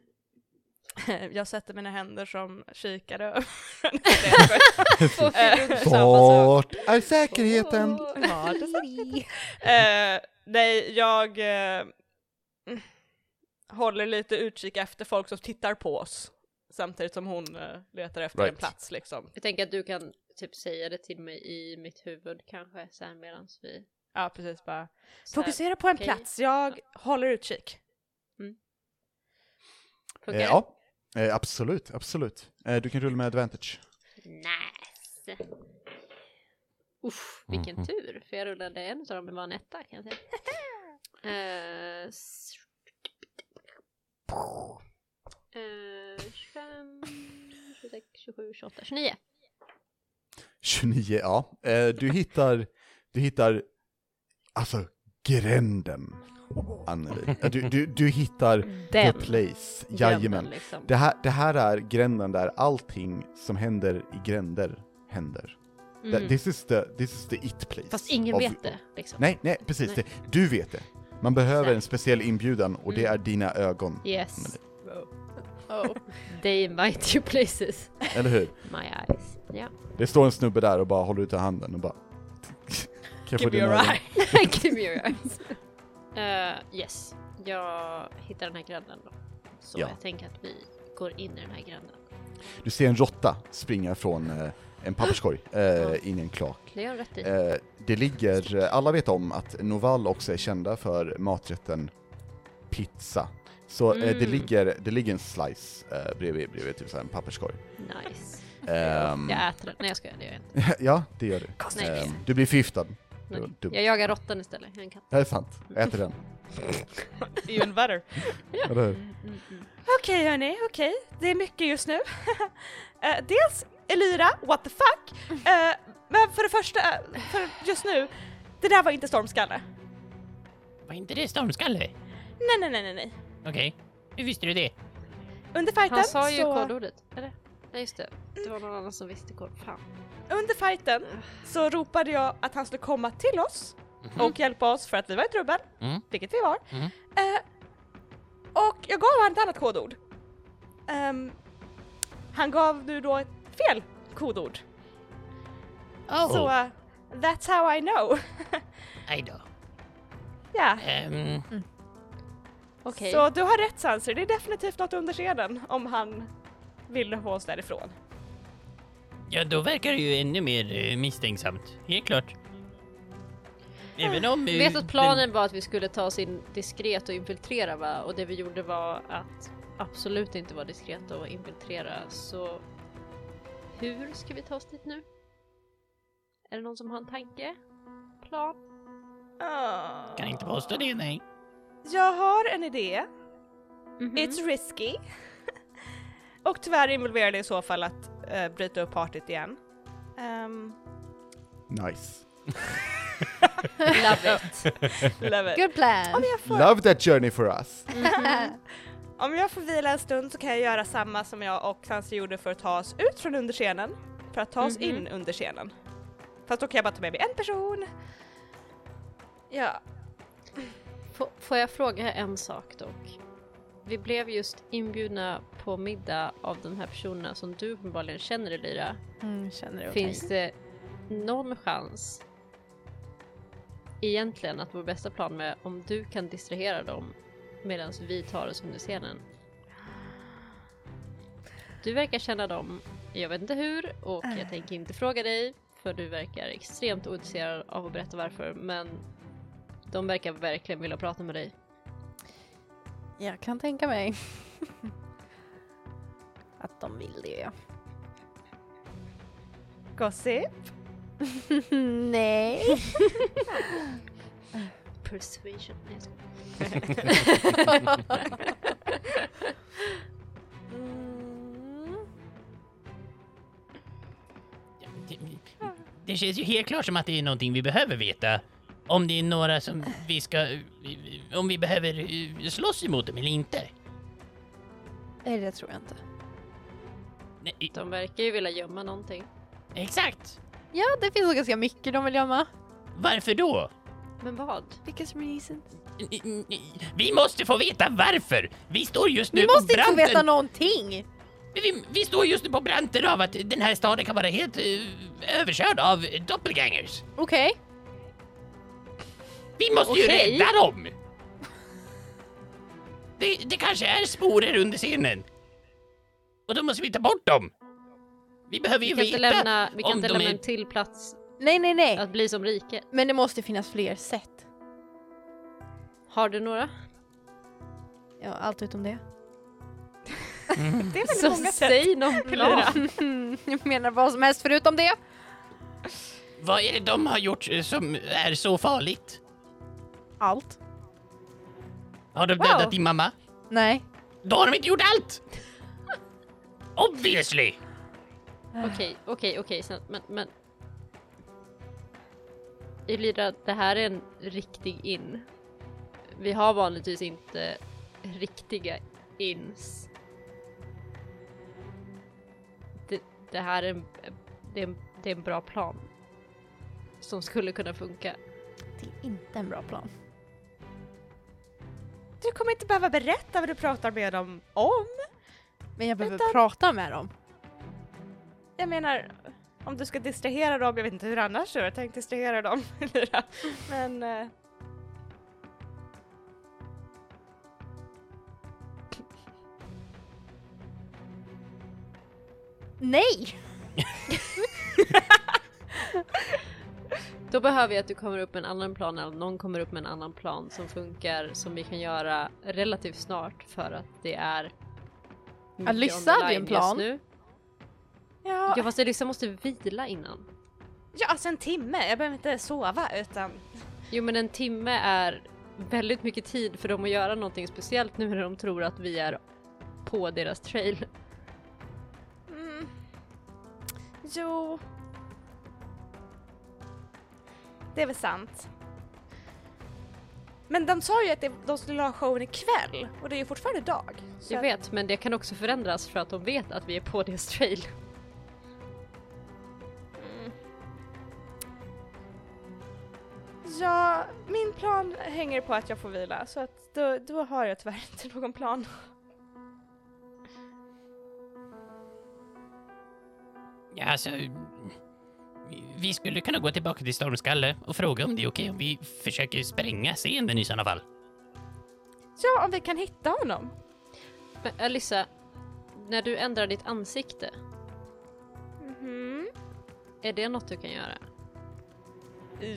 Speaker 4: Jag sätter mina händer som kikare.
Speaker 3: Två figurer tillsammans.
Speaker 2: Vart är säkerheten?
Speaker 5: Ja, det är vi.
Speaker 4: Eh, nej, jag eh, mm, håller lite utkik efter folk som tittar på oss. Samtidigt som hon eh, letar efter en
Speaker 2: Right.
Speaker 4: plats liksom.
Speaker 3: Jag tänker att du kan typ säga det till mig i mitt huvud kanske sen medans vi...
Speaker 4: Ja, precis bara.
Speaker 3: så här,
Speaker 4: Fokusera på en
Speaker 3: okej.
Speaker 4: plats, jag håller utkik.
Speaker 3: Funkar
Speaker 2: Eh,
Speaker 3: det?
Speaker 2: ja, eh, absolut, absolut. Eh, du kan rulla med advantage.
Speaker 3: Nice! Uff, vilken
Speaker 2: Mhm.
Speaker 3: tur, för jag rullade en av dem med bara en etta kan jag säga. Eh, s- Eh, 25, 26, 27, 28, 29.
Speaker 2: 29, ja. Eh, du hittar, du hittar, alltså gränden, Anneli. Eh, Du, du, du hittar the place, jajamän.
Speaker 3: Drömmen, liksom.
Speaker 2: Det här, det här är gränden där allting som händer i gränder händer. Th- This, is the, this is the it place.
Speaker 3: Mm. Fast ingen
Speaker 2: Av-
Speaker 3: vet det. Liksom.
Speaker 2: Nej, nej, precis.
Speaker 3: Nej.
Speaker 2: Det, du vet det. Man behöver
Speaker 3: Exakt.
Speaker 2: en speciell inbjudan och
Speaker 3: Mm.
Speaker 2: det är dina ögon.
Speaker 3: Yes. They invite you places.
Speaker 2: Eller hur?
Speaker 3: My eyes. Ja.
Speaker 2: Det står en snubbe där och bara håller ut handen och bara... Kan jag få
Speaker 4: Give me
Speaker 2: dina
Speaker 4: your
Speaker 2: ögon?
Speaker 4: eye.
Speaker 3: Give me your eyes. Eh, yes. Jag hittar den här gränden då. Så
Speaker 2: Ja.
Speaker 3: jag tänker att vi går in i den här gränden.
Speaker 2: Du ser en råtta springa från eh, en papperskorg eh, in i en kloak.
Speaker 3: Det har jag rätt i.
Speaker 2: Eh, det ligger, eh, alla vet om att Noval också är kända för maträtten pizza. Så eh,
Speaker 4: Mm.
Speaker 2: det, ligger, det ligger en slice eh, bredvid, bredvid typ så här en papperskorg.
Speaker 3: Nice.
Speaker 2: Ehm,
Speaker 3: Jag äter den. Nej jag skojar, det gör jag inte.
Speaker 2: ja, det gör du.
Speaker 3: Nej, det-
Speaker 2: Ehm, du blir förgiftad. Det var
Speaker 3: Nej.
Speaker 2: dumt.
Speaker 3: Jag jagar råttan istället. Jag är en katt.
Speaker 2: Det är sant, äter den.
Speaker 4: Even better.
Speaker 2: Eller
Speaker 4: Mm.
Speaker 2: hur?
Speaker 4: Okej hörni, okej. Det är mycket just nu. Eh, dels Elira, what the fuck. Eh, men för det första, eh, för just nu, det där var inte stormskalle.
Speaker 6: Var inte det stormskalle?
Speaker 4: Nej, nej, nej, nej, nej.
Speaker 6: Okej. Hur visste du det?
Speaker 4: Under fighten
Speaker 3: Han sa ju
Speaker 4: så...
Speaker 3: kodordet. Eller? Nej just det, det var någon annan som visste kort fram.
Speaker 4: Under fighten så ropade jag att han skulle komma till oss och hjälpa oss för att vi var i trubbel,
Speaker 6: Mhm. Mm.
Speaker 4: vilket vi var.
Speaker 6: Mm.
Speaker 4: Eh, och jag gav han ett annat kodord. Ehm, han gav nu då ett fel kodord.
Speaker 6: Oh,
Speaker 4: Så eh, that's how I know.
Speaker 6: aj då.
Speaker 4: Ja,
Speaker 6: Ehm,
Speaker 3: Okej,
Speaker 4: så du har rätt Sanser, det är definitivt något under scenen om han ville få oss därifrån.
Speaker 6: ja, då verkar det ju ännu mer eh, misstänksamt. Helt klart. Även om... eh,
Speaker 3: vet att planen var att vi skulle ta oss in diskret och infiltrera va? Och det vi gjorde var att absolut inte vara diskret och infiltrera så hur ska vi ta oss dit nu? Är det någon som har en tanke? Plan?
Speaker 4: Ah.
Speaker 6: Den, kan inte påstå det, nej.
Speaker 4: Jag har en idé.
Speaker 3: Mhm.
Speaker 4: It's risky. och tyvärr involverar det i så fall att eh, bryta upp partyt igen. Ehm,
Speaker 2: Nice.
Speaker 3: Love it!
Speaker 4: love it.
Speaker 5: Good plan.
Speaker 4: Om jag, får,
Speaker 2: Love that journey for us.
Speaker 4: om jag får vila en stund så kan jag göra samma som jag och Sansa gjorde för att ta oss ut från underscenen. För att ta oss
Speaker 3: Mhm.
Speaker 4: in under scenen. Fast då kan jag bara ta med mig en person. Ja.
Speaker 3: F- får jag fråga en sak dock? Vi blev just inbjudna på middag av de här personerna som du uppenbarligen känner Elira.
Speaker 5: Mm, känner du okej?
Speaker 3: Finns det någon chans egentligen att vår bästa plan är om du kan distrahera dem medan vi tar oss under scenen? Du verkar känna dem, jag vet inte hur och jag tänker inte fråga dig för du verkar extremt ointresserad av att berätta varför men de verkar verkligen vilja prata med dig.
Speaker 5: Jag kan tänka mig. att de vill det ja.
Speaker 4: Gossip.
Speaker 5: Nej.
Speaker 3: Persuasion. Nej, jag skojar.
Speaker 5: Mm.
Speaker 6: Det, det känns ju helt klart som att det är någonting vi behöver veta. Om det är några som vi ska... Om vi behöver eh, slåss emot dem eller inte.
Speaker 5: Nej det tror jag inte.
Speaker 6: Nej,
Speaker 3: De verkar ju vilja gömma någonting.
Speaker 6: exakt!
Speaker 5: Ja det finns nog ganska mycket de vill gömma.
Speaker 6: Varför då?
Speaker 3: Men vad?
Speaker 5: Because reasons.
Speaker 6: Vi måste få veta varför! Vi står just nu
Speaker 5: Vi måste
Speaker 6: på
Speaker 5: inte få
Speaker 6: branten...
Speaker 5: veta någonting!
Speaker 6: vi, vi står just nu på branten av att den här staden kan vara helt eh, överkörd av doppelgangers.
Speaker 5: Okej.
Speaker 6: Vi måste ju
Speaker 3: Okej.
Speaker 6: rädda dem! Det, det kanske är sporer under scenen. Och då måste vi ta bort dem. Vi behöver ju
Speaker 3: Vi kan
Speaker 6: veta
Speaker 3: inte lämna, vi kan
Speaker 6: om
Speaker 3: inte
Speaker 6: de
Speaker 3: lämna
Speaker 6: är...
Speaker 3: en till plats
Speaker 5: Nej nej nej.
Speaker 3: att bli som riket.
Speaker 5: Men det måste finnas fler sätt.
Speaker 3: Har du några?
Speaker 5: Ja, allt utom det.
Speaker 4: Det är väldigt
Speaker 3: Så
Speaker 4: många sätt.
Speaker 3: säg någon plan.
Speaker 5: Jag menar vad som helst förutom det.
Speaker 6: Vad är det de har gjort eh, som är så farligt?
Speaker 5: Allt.
Speaker 6: Har de
Speaker 4: Wow.
Speaker 6: dödat din mamma?
Speaker 5: Nej.
Speaker 6: Då har de inte gjort allt! Obviously!
Speaker 3: Okej, okej, okej, sen- men, men. Elira, det här är en riktig in. Vi har vanligtvis inte riktiga ins. Det, det här är en, det är, en, det är en bra plan. Som skulle kunna funka.
Speaker 5: Det är inte en bra plan.
Speaker 4: Du kommer inte behöva berätta vad du pratar med dem om.
Speaker 5: Men jag behöver
Speaker 4: Utan-
Speaker 5: prata med dem.
Speaker 4: Jag menar, om du ska distrahera dem, jag vet inte hur annars du har tänkt distrahera dem. Lyra. Men... eh,
Speaker 5: Nej!
Speaker 3: Då behöver jag att du kommer upp med en annan plan eller någon kommer upp med en annan plan som funkar som vi kan göra relativt snart för att det är mycket
Speaker 5: Alyssa
Speaker 3: on the
Speaker 5: hade ju
Speaker 3: line
Speaker 5: en
Speaker 3: just
Speaker 5: plan.
Speaker 3: Nu.
Speaker 4: Ja,
Speaker 3: Ja fast Alyssa måste vila innan.
Speaker 4: ja, alltså en timme. Jag behöver inte sova utan...
Speaker 3: Jo men en timme är väldigt mycket tid för dem att göra någonting speciellt nu när de tror att vi är på deras trail.
Speaker 4: Mm. Jo... Det är väl sant. Men de sa ju att det- de skulle ha showen ikväll och det är ju fortfarande dag. Så
Speaker 3: Jag
Speaker 4: att-
Speaker 3: vet, men det kan också förändras för att de vet att vi är på deras trail.
Speaker 4: Ja, min plan hänger på att jag får vila så att då, då har jag tyvärr inte någon plan.
Speaker 6: Ja, alltså, vi skulle kunna gå tillbaka till Stormskalle och fråga om det är okej om vi försöker spränga scenen i sådana fall.
Speaker 4: Ja, om vi kan hitta honom.
Speaker 3: Men Alissa, när du ändrar ditt ansikte,
Speaker 4: Mhm.
Speaker 3: är det något du kan göra?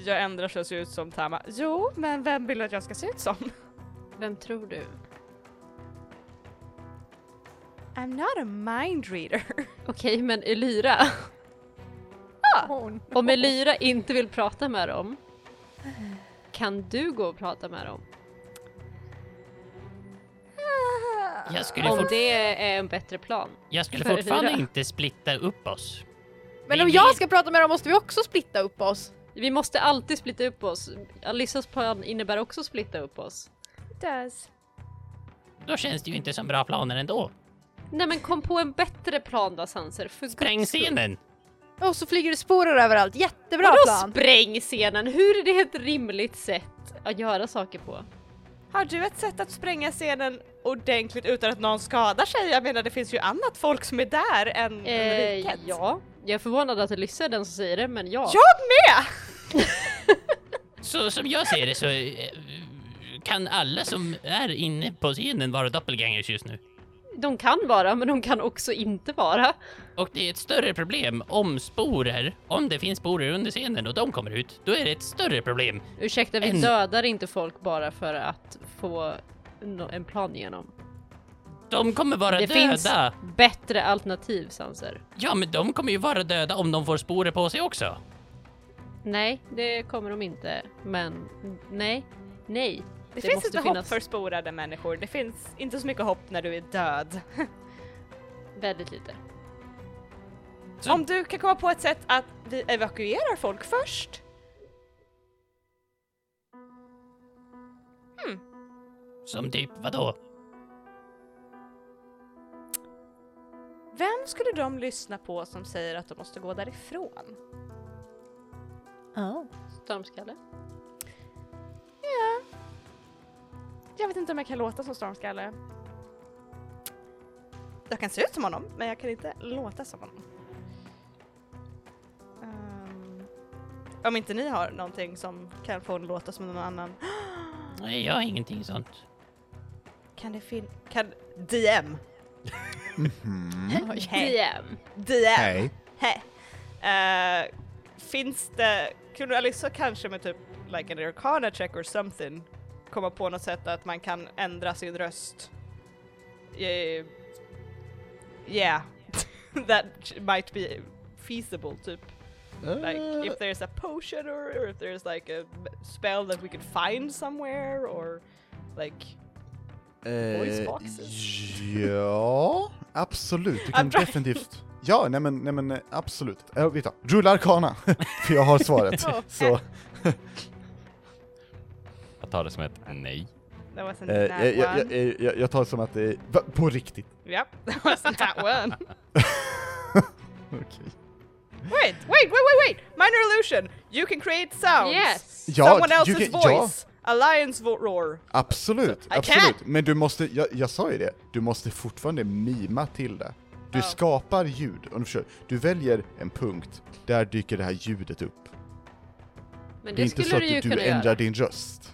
Speaker 4: Jag ändrar så jag ser ut som Tama. Jo, men vem vill att jag ska se ut som?
Speaker 3: Vem tror du?
Speaker 4: I'm not a mind reader.
Speaker 3: Okej, men Elyra. Om Elyra inte vill prata med dem, kan du gå och prata med dem?
Speaker 6: Jag skulle,
Speaker 3: Om
Speaker 6: fort-
Speaker 3: det är en bättre plan.
Speaker 6: jag skulle
Speaker 3: för
Speaker 6: fortfarande
Speaker 3: hyra.
Speaker 6: inte splitta upp oss.
Speaker 5: Men
Speaker 6: Vi-
Speaker 5: om
Speaker 6: vi-
Speaker 5: jag ska prata med dem måste vi också splitta upp oss.
Speaker 3: Vi måste alltid splitta upp oss. Alissas plan innebär också att splitta upp oss.
Speaker 4: Does.
Speaker 6: Då känns det ju inte som bra planer ändå.
Speaker 3: Nej men kom på en bättre plan då Sanser, för guds
Speaker 6: Spräng
Speaker 3: skull.
Speaker 6: scenen!
Speaker 5: Och så flyger det sporer överallt. Jättebra
Speaker 3: Vadå
Speaker 5: plan.
Speaker 3: spräng scenen? Hur är det ett rimligt sätt att göra saker på?
Speaker 4: Har du ett sätt att spränga scenen ordentligt utan att någon skadar sig? Jag menar, det finns ju annat folk som är där än
Speaker 3: Eh,
Speaker 4: riket.
Speaker 3: ja, jag är förvånad att Alyssa är den som säger det, men ja.
Speaker 4: Jag med!
Speaker 6: Så som jag ser det så eh, kan alla som är inne på scenen vara doppelgängers just nu.
Speaker 3: De kan vara, men de kan också inte vara.
Speaker 6: Och det är ett större problem om sporer, om det finns sporer under scenen och de kommer ut, då är det ett större problem.
Speaker 3: Ursäkta, vi
Speaker 6: En-
Speaker 3: dödar inte folk bara för att få nå- en plan igenom.
Speaker 6: De kommer vara
Speaker 3: Det
Speaker 6: döda.
Speaker 3: finns bättre alternativ, Sanser.
Speaker 6: Ja, men de kommer ju vara döda om de får sporer på sig också.
Speaker 3: Nej, det kommer de inte, men nej, nej.
Speaker 4: Det, finns
Speaker 3: måste
Speaker 4: inte hopp
Speaker 3: finnas
Speaker 4: för sporade människor. Det finns inte så mycket hopp när du är död.
Speaker 3: väldigt lite.
Speaker 6: Så-
Speaker 4: Om du kan komma på ett sätt att vi evakuerar folk först?
Speaker 6: Som typ vadå?
Speaker 4: Vem skulle de lyssna på som säger att de måste gå därifrån?
Speaker 5: Oh.
Speaker 3: Stormskalle?
Speaker 4: Ja. Jag vet inte om jag kan låta som stormskalle. Jag kan se ut som honom, men jag kan inte låta som honom. Ehm, om inte ni har någonting som kan få en låta som någon annan.
Speaker 6: Nej, jag har ingenting sånt.
Speaker 4: Kan det fin... Kan... DM!
Speaker 2: Mhm.
Speaker 4: Hej.
Speaker 3: DM.
Speaker 4: DM!
Speaker 2: Nej.
Speaker 4: Heh. Eh, finns det, kunde Alyssa kanske med typ like an arcana check or something komma på något sätt att man kan ändra sin röst? Eh, yeah, that might be feasible typ. Like
Speaker 2: Eh.
Speaker 4: if there's a potion or, or if there's like a spell that we could find somewhere or like voice boxes.
Speaker 2: Eh, ja, absolut. Du kan
Speaker 4: I'm trying.
Speaker 2: definitivt... Ja, nej men, nej men eh, absolut. Äh, vet du, rulla Arkana, för jag har svaret. Så, eh,
Speaker 1: Jag tar det som ett nej.
Speaker 4: that wasn't
Speaker 2: eh,
Speaker 4: that
Speaker 2: jag, jag,
Speaker 4: one.
Speaker 2: jag- jag, jag tar det som att det är... Va, på riktigt?
Speaker 4: Yep, that wasn't that one.
Speaker 2: Okej.
Speaker 4: Wait, wait, wait, wait, wait! Minor illusion. You can create sounds.
Speaker 3: Yes!
Speaker 2: Ja,
Speaker 4: Someone
Speaker 2: you
Speaker 4: else's
Speaker 2: can- ja.
Speaker 4: voice. A lion's vo- roar.
Speaker 2: Absolut,
Speaker 4: I
Speaker 2: absolut. Men du måste, jag, jag sa ju det, du måste fortfarande mima till det. Du
Speaker 4: Ja.
Speaker 2: skapar ljud, om du försöker. Du väljer en punkt, där dyker det här ljudet upp.
Speaker 3: Men
Speaker 2: Det är
Speaker 3: det
Speaker 2: inte så
Speaker 3: skulle
Speaker 2: att
Speaker 3: du ju
Speaker 2: du,
Speaker 3: kunna
Speaker 2: ändrar
Speaker 3: göra.
Speaker 2: din röst.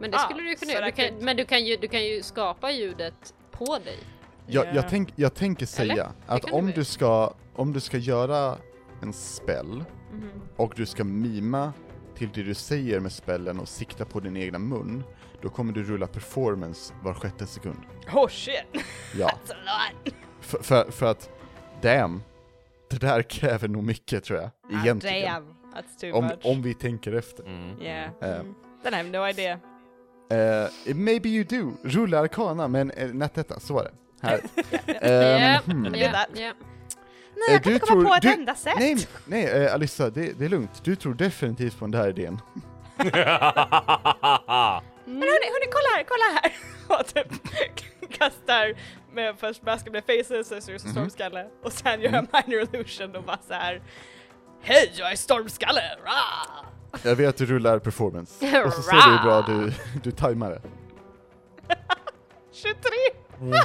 Speaker 3: Men det
Speaker 4: Ah,
Speaker 3: skulle du ju kunna
Speaker 4: så
Speaker 3: göra. Du
Speaker 4: där
Speaker 3: kan,
Speaker 4: kan-
Speaker 3: men du kan, ju, du kan ju skapa ljudet på dig.
Speaker 2: Jag,
Speaker 4: Ja.
Speaker 2: jag, tänk, jag tänker säga
Speaker 3: Eh, Eller?
Speaker 2: att
Speaker 3: kan du
Speaker 2: om
Speaker 3: väl.
Speaker 2: du, ska, om du ska göra en spell
Speaker 3: Mhm.
Speaker 2: och du ska mima till det du säger med spellen och sikta på din egna mun, då kommer du rulla performance var sjätte sekund.
Speaker 4: Oh shit,
Speaker 2: Ja.
Speaker 4: that's a lot.
Speaker 2: För, för, för att, damn, det där kräver nog mycket tror jag,
Speaker 3: Ah,
Speaker 2: egentligen.
Speaker 4: Ah, Damn, that's too
Speaker 2: om,
Speaker 4: much.
Speaker 2: om vi tänker efter.
Speaker 1: Mm.
Speaker 4: Yeah,
Speaker 2: Eh,
Speaker 3: Mm.
Speaker 4: then I have no idea.
Speaker 2: eh, maybe you do, rulla arkana, men uh, nattetta, så var det. Här.
Speaker 3: Ja,
Speaker 2: Ehm, hmm.
Speaker 3: ja,
Speaker 4: that.
Speaker 3: ja.
Speaker 4: Nej,
Speaker 2: Eh,
Speaker 4: jag kan
Speaker 2: du
Speaker 4: inte komma
Speaker 2: tror-
Speaker 4: på ett
Speaker 2: du-
Speaker 4: enda sätt.
Speaker 2: Nej, nej eh, Alissa, det, det är lugnt. Du tror definitivt på den här idén.
Speaker 4: Men hörni, hörni, kolla här, kolla här! Och typ kastar med först masken med faces, sen så
Speaker 2: Mhm.
Speaker 4: just en stormskalle och sen gör
Speaker 2: Mm.
Speaker 4: jag minor illusion och bara så här. Hej, jag är stormskalle! Rah!
Speaker 2: Jag vet att du rullar performance, och så ser du hur bra du, du tajmar det.
Speaker 4: 23!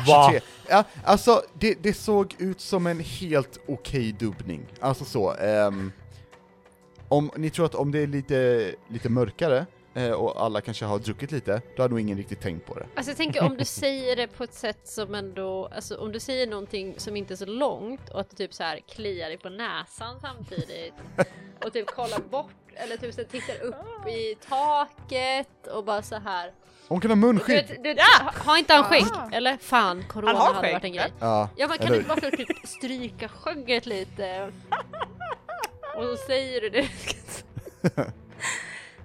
Speaker 1: Va?
Speaker 2: 23. Ja, alltså, det, det såg ut som en helt okej dubbning. Alltså så. ehm, om, ni tror att om det är lite, lite mörkare eh, och alla kanske har druckit lite, då har nog ingen riktigt tänkt på det.
Speaker 3: Alltså jag tänker om du säger det på ett sätt som ändå, alltså om du säger någonting som inte är så långt och att du typ så här kliar dig på näsan samtidigt och typ kollar bort eller typ så här tittar upp i taket och bara så här.
Speaker 2: Hon kan ha
Speaker 3: Du,
Speaker 2: munskydd!
Speaker 3: vet, du, ha- har inte han skägg? Eller? Fan, corona
Speaker 4: Ah. Han har
Speaker 3: hade
Speaker 4: skägg,
Speaker 3: varit en grej.
Speaker 2: Ja,
Speaker 3: Ja men kan
Speaker 2: eller
Speaker 3: du
Speaker 2: hur?
Speaker 3: inte bara få typ stryka skägget lite? Och så säger du det.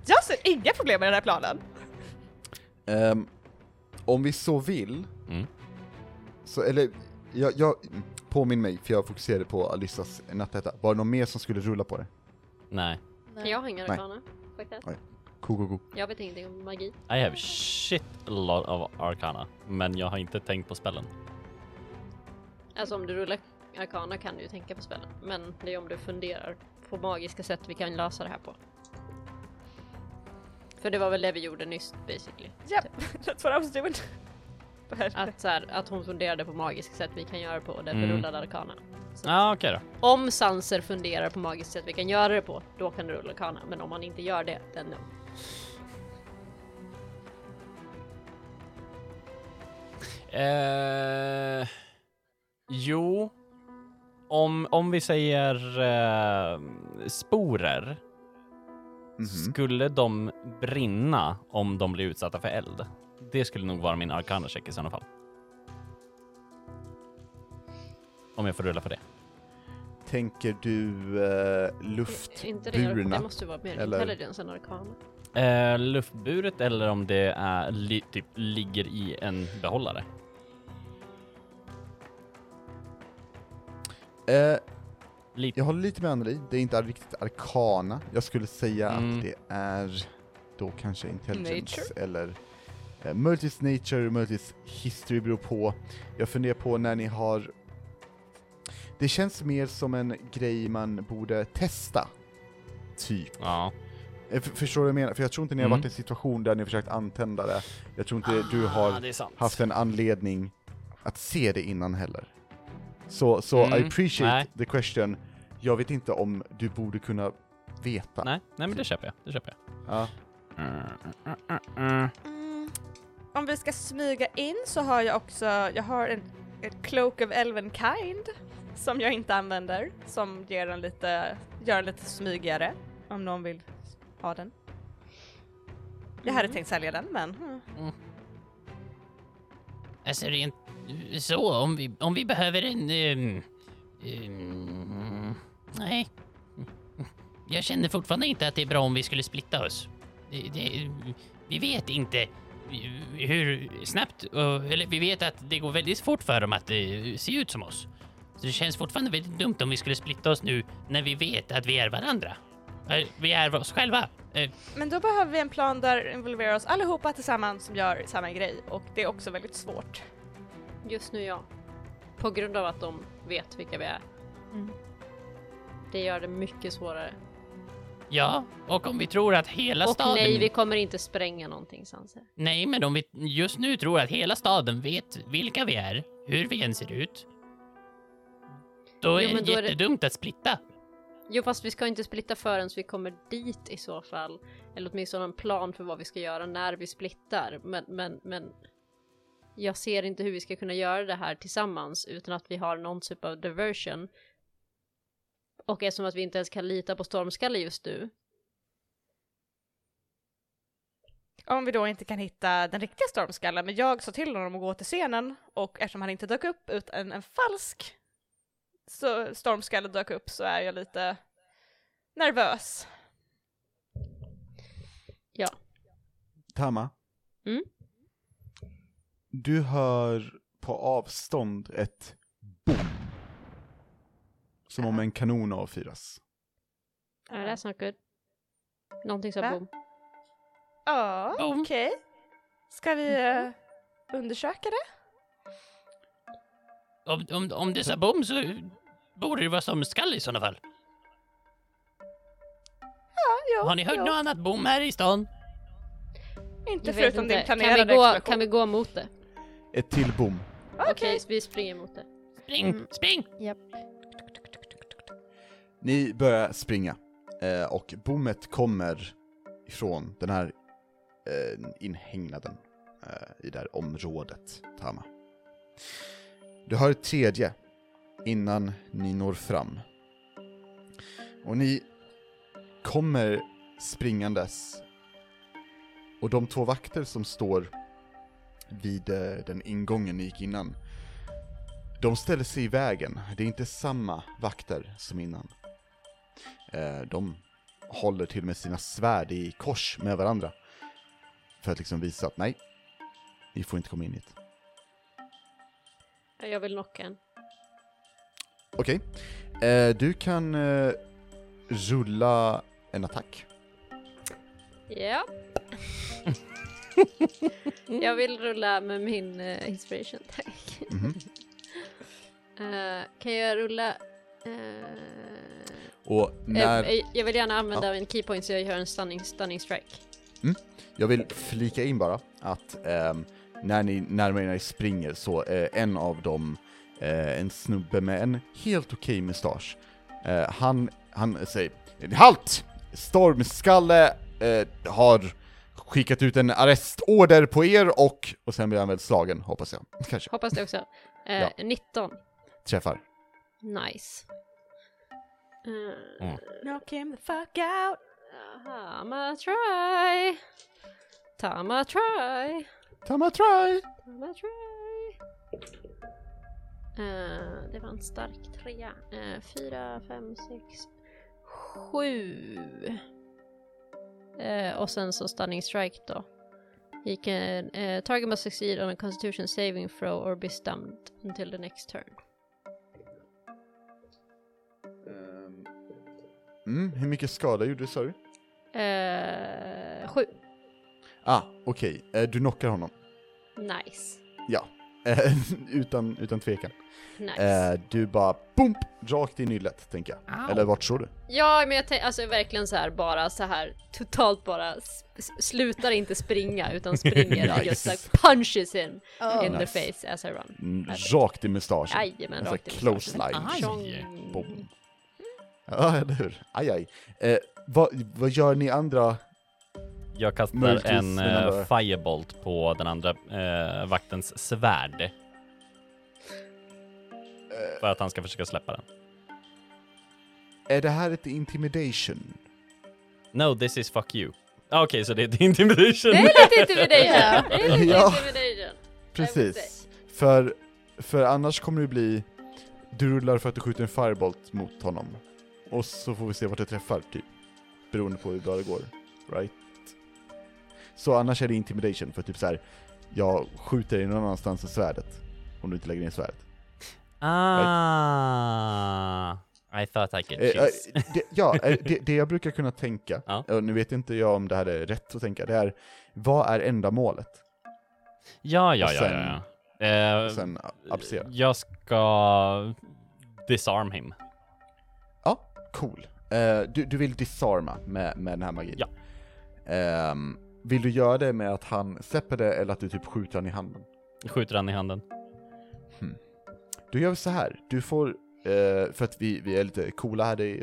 Speaker 4: Jag ser inga problem med den här planen.
Speaker 2: Ehm, om vi så vill,
Speaker 1: Mm.
Speaker 2: så eller, jag, jag påminn mig, för jag fokuserade på Alissas nattetta. Var det någon mer som skulle rulla på det?
Speaker 1: Nej.
Speaker 3: Kan jag hänga
Speaker 2: Nej.
Speaker 3: med Kana? Faktiskt.
Speaker 2: Ko, ko, ko.
Speaker 3: Jag vet ingenting om magi.
Speaker 1: I have shit lot of arcana, men jag har inte tänkt på spelen.
Speaker 3: Alltså om du rullar arkana kan du ju tänka på spelen. Men det är om du funderar på magiska sätt vi kan lösa det här på. För det var väl det vi gjorde nyss basically.
Speaker 4: Japp, that's what I was doing.
Speaker 3: Att, så här, att hon funderade på magiska sätt vi kan göra på och därför
Speaker 1: Mm.
Speaker 3: rullade arkana. Så-
Speaker 1: Ja, ah, okej då.
Speaker 3: Om Sanser funderar på magiskt sätt vi kan göra det på, då kan du rulla arkana. Men om han inte gör det, then no.
Speaker 1: Eh, jo, om, om vi säger eh, sporer,
Speaker 2: Mhm.
Speaker 1: skulle de brinna om de blir utsatta för eld? Det skulle nog vara min arcana check i sådana fall. Om jag får rulla på det.
Speaker 2: Tänker du uh,
Speaker 3: Inte det, det
Speaker 2: luftburna?
Speaker 3: måste ju vara mer
Speaker 2: Eller-
Speaker 3: intelligence än arkana.
Speaker 1: Eh, luftburet eller om det är li, typ ligger i en behållare.
Speaker 2: Eh,
Speaker 1: Lite.
Speaker 2: jag håller lite med Anneli, det är inte riktigt arkana. Jag skulle säga
Speaker 1: Mm.
Speaker 2: att det är då kanske intelligence
Speaker 4: Nature?
Speaker 2: eller eh, möjligtvis nature, möjligtvis history beror på. Jag funderar på när ni har... Det känns mer som en grej man borde testa. Typ.
Speaker 1: Ja.
Speaker 2: Eh, f- Förstår du vad jag menar? För jag tror inte ni har
Speaker 1: Mm.
Speaker 2: varit i en situation där ni har försökt antända det. Jag tror inte du har
Speaker 1: Ah, det är sant.
Speaker 2: haft en anledning att se det innan heller. Så, så
Speaker 1: Mm,
Speaker 2: I appreciate
Speaker 1: nej.
Speaker 2: the question. Jag vet inte om du borde kunna veta.
Speaker 1: Nej, nej men det köper jag. Det köper jag.
Speaker 2: Ja.
Speaker 4: Mm. Om vi ska smyga in så har jag också, jag har en, en cloak of elven kind som jag inte använder, som ger den lite, gör den lite smygigare om någon vill ha den. Jag hade tänkt sälja den men... mm.
Speaker 6: Alltså rent eh, så, om vi, om vi behöver en... ehm, ehm, nej. Jag känner fortfarande inte att det är bra om vi skulle splitta oss. Det, det, vi vet inte hur snabbt, och- eller vi vet att det går väldigt fort för dem att eh, se ut som oss. Så det känns fortfarande väldigt dumt om vi skulle splitta oss nu när vi vet att vi är varandra. Eh, Vi är oss själva. Eh,
Speaker 4: Men då behöver vi en plan där involverar oss allihopa tillsammans som gör samma grej och det är också väldigt svårt.
Speaker 3: Just nu ja. På grund av att de vet vilka vi är.
Speaker 5: Mm.
Speaker 3: Det gör det mycket svårare.
Speaker 6: Ja, och om vi tror att hela
Speaker 3: Och
Speaker 6: staden...
Speaker 3: nej, vi kommer inte spränga någonting Sanser.
Speaker 6: Nej, men om vi just nu tror att hela staden vet vilka vi är, hur vi än ser ut, då är
Speaker 3: Jo, men
Speaker 6: det
Speaker 3: då är det-
Speaker 6: jättedumt att splitta.
Speaker 3: Jo fast vi ska inte splitta förrän vi kommer dit i så fall. Eller åtminstone en plan för vad vi ska göra när vi splittar. Men, men, men. Jag ser inte hur vi ska kunna göra det här tillsammans utan att vi har någon typ av diversion. Och eftersom att vi inte ens kan lita på Stormskalle just nu.
Speaker 4: Om vi då inte kan hitta den riktiga stormskallen, men jag sa till honom att gå till scenen och eftersom han inte dök upp utan en falsk så stormskalle dök upp så är jag lite nervös.
Speaker 2: Tama?
Speaker 3: Mm?
Speaker 2: Du hör på avstånd ett boom. Som om en kanon avfyras.
Speaker 3: Uh, that's not good. Någonting sa
Speaker 4: Va?
Speaker 3: boom.
Speaker 4: Ja,
Speaker 6: Boom. Mhm.
Speaker 4: okej. Ska vi eh, undersöka det?
Speaker 6: Om, om, om det
Speaker 3: Mm.
Speaker 6: sa bom så borde det vara sömnskalle i sådana fall.
Speaker 4: Ja, jo,
Speaker 6: Har ni hört
Speaker 4: jo.
Speaker 6: något annat bom här i stan?
Speaker 4: Inte
Speaker 3: Jag vet
Speaker 4: förutom
Speaker 3: inte.
Speaker 4: din planerade
Speaker 3: kan vi, gå,
Speaker 4: explosion.
Speaker 3: kan vi gå mot det?
Speaker 2: Ett till bom.
Speaker 4: Okej,
Speaker 3: Okej, så vi springer mot det.
Speaker 6: Spring,
Speaker 3: Mm.
Speaker 6: spring!
Speaker 2: Ni börjar springa eh, och bommet kommer ifrån den här eh, inhägnaden eh, i det här området, Tama. Du hör ett tredje innan ni når fram. Och ni kommer springandes och de två vakter som står vid eh, den ingången ni gick innan de ställer sig i vägen. Det är inte samma vakter som innan. Eh, de håller till och med sina svärd i kors med varandra. För att liksom visa att nej, ni får inte komma in hit.
Speaker 3: Jag vill knocka en.
Speaker 2: Okej, eh, du kan eh, rulla en attack.
Speaker 3: Ja. jag vill rulla med min eh, inspiration, tack.
Speaker 2: Mhm.
Speaker 3: Eh, kan jag rulla? eh,
Speaker 2: Och när...
Speaker 3: eh, Jag vill gärna använda en keypoint så jag gör en stunning, stunning strike.
Speaker 2: Jag vill flika in bara att ehm, när ni närmar er när ni springer så eh, en av dem, eh, en snubbe med en helt okej mustasch, eh, han, han säger HALT! Stormskalle eh, har skickat ut en arrestorder på er och... Och sen blir han väl slagen, hoppas jag. Kanske.
Speaker 3: Hoppas det också. Eh,
Speaker 2: Ja.
Speaker 3: 19.
Speaker 2: Träffar.
Speaker 3: Nice. Eh,
Speaker 4: knock him the fuck out.
Speaker 3: Tama try. Tama try.
Speaker 2: Tama try!
Speaker 3: Tama try. Eh, det var en stark trea. Eh, fyra, fem, sex, sju. Eh, och sen så stunning strike då. He can eh, target must succeed on a constitution saving throw or be stunned until the next turn.
Speaker 2: Mm, hur mycket skada gjorde du sa du?
Speaker 3: Eh, sju.
Speaker 2: Ah, okej. Eh, du knockar honom.
Speaker 3: Nice.
Speaker 2: Ja. Eh, utan, utan tvekan.
Speaker 3: Nice.
Speaker 2: Eh, du bara bump, rakt i nyllet tänker jag. Eller vart tror du?
Speaker 3: Ja, men jag tänkte, alltså verkligen så här bara så här totalt bara s- s- slutar inte springa utan springer och just
Speaker 2: Nice.
Speaker 3: like punches in in
Speaker 2: Oh, Nice.
Speaker 3: the face as I run.
Speaker 2: Mm, Rakt i mustaschen.
Speaker 3: Jajamän,
Speaker 2: En sån
Speaker 3: Äh, rakt i
Speaker 2: här close
Speaker 3: mustaschen.
Speaker 2: line. liksom.
Speaker 6: Aj.
Speaker 3: Tjong.
Speaker 2: Boom. Ja, eller hur? Aj, aj. Eh, vad, vad gör ni andra?
Speaker 1: Jag kastar
Speaker 2: Möjligtvis
Speaker 1: en
Speaker 2: den
Speaker 1: eh,
Speaker 2: andra.
Speaker 1: firebolt på den andra eh, vaktens svärd. För att han ska försöka släppa den.
Speaker 2: Eh, Är det här ett intimidation?
Speaker 1: No, this is fuck you. Ah, Okej, så det är ett intimidation.
Speaker 3: Det är lite intimidation! Det är lite
Speaker 2: Ja.
Speaker 3: intimidation!
Speaker 2: Precis. För, för annars kommer det bli... Du rullar för att du skjuter en firebolt mot honom. Och så får vi se vart det träffar, typ. Beroende på hur bra det går. Right? Så annars är det intimidation, för typ så här. Jag skjuter dig någon annanstans än svärdet. Om du inte lägger ner svärdet.
Speaker 1: Ah, I thought I could
Speaker 2: Eh, eh,
Speaker 1: cheese.
Speaker 2: det, ja, eh, det, det jag brukar kunna tänka,
Speaker 1: Ja.
Speaker 2: och nu vet inte jag om det här är rätt att tänka, det är vad är ändamålet?
Speaker 1: Ja, ja,
Speaker 2: och
Speaker 1: ja,
Speaker 2: sen-
Speaker 1: ja. ja. Eh,
Speaker 2: Och sen a- applicera.
Speaker 1: jag ska disarm him.
Speaker 2: Ja, cool. Eh, du, du vill disarma med, med den här magin?
Speaker 1: Ja.
Speaker 2: Ehm, vill du göra det med att han släpper det eller att du typ skjuter han i handen?
Speaker 1: Skjuter han i handen.
Speaker 2: Du gör så här, du får, eh, för att vi, vi är lite coola här i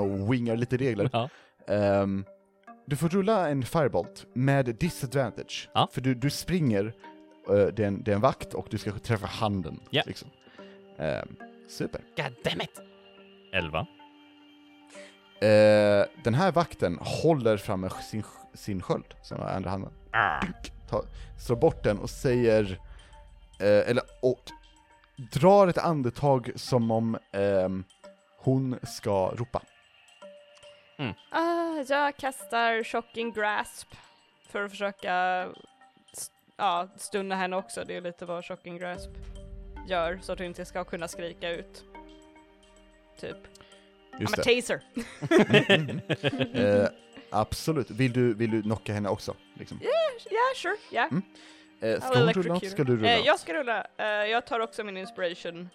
Speaker 2: och wingar lite regler.
Speaker 1: Ja.
Speaker 2: Ehm, du får rulla en firebolt med disadvantage.
Speaker 1: Ja.
Speaker 2: För du, du springer, eh, det, är en, det är en vakt och du ska träffa handen.
Speaker 1: Ja.
Speaker 2: Liksom. Ehm, super.
Speaker 6: God damn it!
Speaker 1: 11.
Speaker 2: Eh, den här vakten håller framme sin, sin sköld, som är andra handen. Ta, slår bort den och säger, eh, eller och drar ett andetag som om ehm, hon ska ropa.
Speaker 4: Ah, jag kastar shocking grasp för att försöka st- ja, stunna henne också. Det är lite vad shocking grasp gör så att hon inte ska kunna skrika ut. Typ.
Speaker 2: Just
Speaker 4: I'm a taser.
Speaker 2: det. Eh, Absolut. Vill du, vill du knocka henne också? Liksom?
Speaker 4: Yeah, Ah, sure, yeah.
Speaker 2: Mm. Eh,
Speaker 4: I'll
Speaker 2: ska hon rulla
Speaker 4: electrocute
Speaker 2: något? Ska du
Speaker 4: her.
Speaker 2: rulla?
Speaker 4: Eh, jag ska rulla. Eh, jag tar också min inspiration